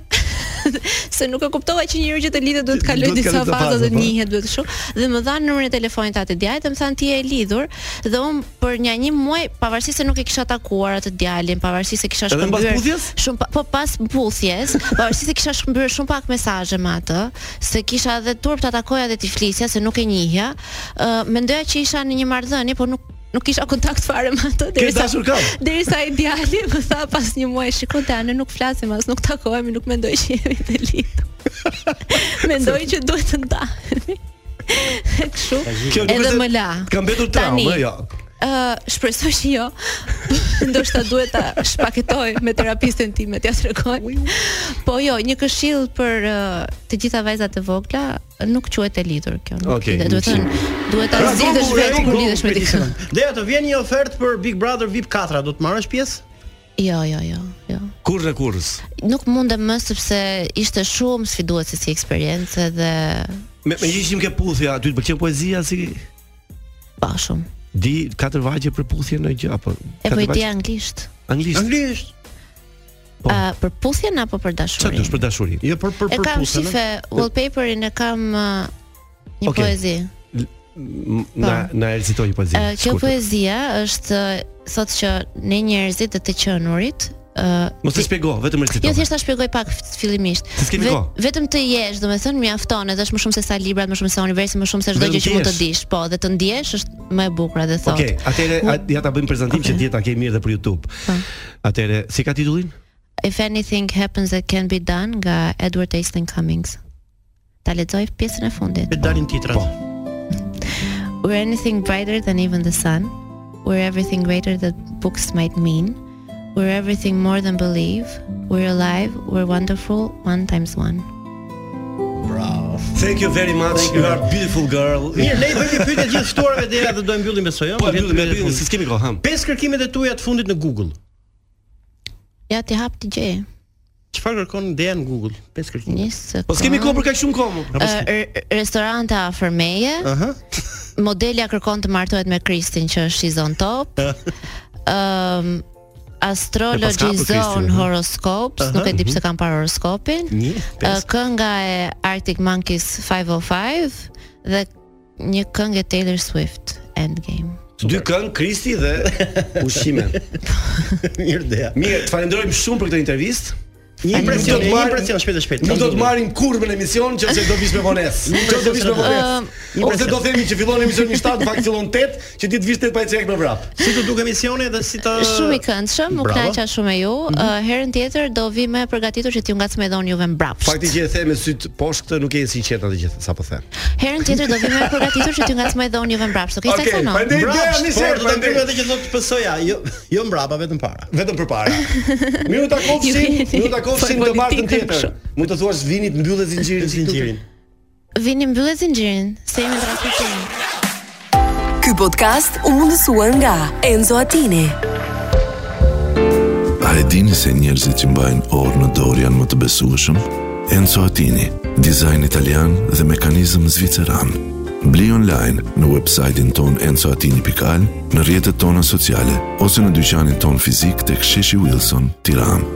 *laughs* se nuk e kuptova që njëri që të lidhet duhet të kaloj
Duhet të
disa
kaloj të
faza dhe
faza, po.
njihet duhet kështu. Dhe më dhanë numrin e telefonit të atë djalit, dhe më thanë ti je e lidhur dhe unë për një një muaj pavarësisht se nuk e kisha takuar atë djalin, pavarësisht se kisha
Edhe mbas
shkëmbyer
puthjes?
shumë pa, po pas mbuthjes, pavarësisht se kisha shkëmbyer shumë pak mesazhe me atë, se kisha edhe turp ta takoja dhe ti flisja se nuk e njihja. Ë mendoja që isha në një marrëdhënie, por nuk nuk kisha kontakt fare me atë derisa
dashur kam.
derisa i djali më tha pas një muaji, shikoj tani nuk flasim as nuk takohemi, nuk mendoj që jemi të lidhur. mendoj që duhet të ndahemi. Kështu.
Kjo duket
Edhe
se
më la.
Ka mbetur
Tani,
traumë, jo.
Ë, shpresoj që jo. *laughs* Ndoshta duhet ta shpaketoj me terapisten tim, t'ia tregoj. Po jo, një këshill për ë, të gjitha vajzat e vogla, nuk quhet e lidhur kjo. Nuk
Okej, Pra,
lidhet. duhet
mirë.
thënë, duhet ta zgjidhësh vetë kur lidhesh me dikë.
Dea, të vjen një ofertë për Big Brother VIP 4, do të marrësh pjesë?
Jo, jo, jo, jo.
Kurrë në kurrës.
Nuk mundem më sepse ishte shumë sfiduese si eksperiencë dhe
Me me që ishim ke puthja, aty të pëlqen poezia si
pa shumë.
Di katër vaqe për puthje në gjë apo?
e po
katër
i di
vaqe-
anglisht.
Anglisht.
Anglisht.
Po. për puthjen apo për
Çfarë
dashurinë?
dush për dashurinë?
Jo për
E kam shife wallpaperin e kam ë, një
Okej.
poezi.
Na na erzitoi poezi.
Ë, Po. Eh, Kjo poezia është thotë që ne njerëzit dhe të qenurit ë,
Mos të shpjego, vetëm
Jo
erzitoi.
thjesht ta shpjegoj pak f- fillimisht.
Se s'kemi
Vet-
kohë.
vetëm të jesh, domethënë mjafton, edhe është më shumë se sa librat, më shumë se sa universi, më shumë se çdo
Vetëm
gjë
të
që mund të
jesh.
dish, po, dhe të ndjesh është më e bukur edhe
Okej,
thotë.
okay, atëre
Ku-
ja ta bëjmë prezantim që dieta ke mirë dhe për YouTube.
Po.
Atëre, si ka titullin?
If anything happens that can be done nga Edward Aston Cummings. Ta lexoj pjesën e fundit.
Me dalin titrat. Po.
We're anything brighter than even the sun. We're everything greater that books might mean. We're everything more than believe. We're alive, we're wonderful, one times one.
Bravo.
Thank you very much. You are beautiful girl.
Mirë, le i bëjmë një pyetje të gjithë ftuarëve deri atë do e mbyllim besoj, ëh.
Po, mbyllim, mbyllim, se s'kemi kohë, ha.
Pesë kërkimet e tuaja të fundit në Google.
Ja ti hap ti gjej.
Çfarë kërkon Dea në Google? Pesë kërkime.
Një sekond.
Po s'kemi kohë për kaq shumë kohë. mo. Apo s'ke-
Ë, r- Restorante afër meje.
Ah.
Aha.
Modelja kërkon të martohet me Kristin që është i zon top. Ehm,
Ah.
Ëm
E
Astrology
pas ka për Kristin,
Zone
aha.
Horoscopes,
Aha,
nuk e di
mhm.
pse kam parë horoskopin.
Një,
Ë, Kënga e oh Arctic Monkeys 505 dhe një këngë e Taylor Swift. Endgame.
Dy këngë Kristi
*laughs*
dhe ushqime.
Mirë dea.
Mirë, të falenderojmë shumë për këtë intervistë.
Një impresion,
Nuk do të
një
marrim-
impresion shpejt e shpejt.
Nuk do të marrim kurrë në emision që se do vish me vonesë.
Një
Që do vish me
impresion.
vonesë. Ose do themi që fillon emisioni 7, në fakt fillon 8, që ti të vish 8 pa i cek me vrap.
Si të duk emisioni dhe si të
Shumë i këndshëm, u
Bravo.
knaqa shumë e ju. Ë, herën tjetër do vi më e përgatitur që t'ju ngacmoj dhon juve mbrapsht.
Fakti që e the me syt poshtë këtë nuk e sinqert atë gjë sapo them.
Herën tjetër do vi më e përgatitur që t'ju ngacmoj dhon juve mbrapsht. Okej, okay, saktë.
Bravo,
ideja,
por
miser,
do të
prandaj.
bëjmë atë që thotë PS-ja, jo jo mbrapa, vetëm para.
Vetëm përpara. Miru
*laughs*
takofshin, miru takofshin të martën tjetër. Mund të thuash vinit mbyllë zinxhirin zinxhirin.
Vini mbyllë zinxhirin, se jemi në transmetim.
Ky podcast u mundësua nga Enzo Attini.
A e dini se njerëzit që mbajnë orë në dorë janë më të besueshëm? Enzo Attini, dizajn italian dhe mekanizëm zviceran. Bli online në website-in ton enzoatini.al, në rrjetet tona sociale ose në dyqanin ton fizik tek Sheshi Wilson, Tiranë.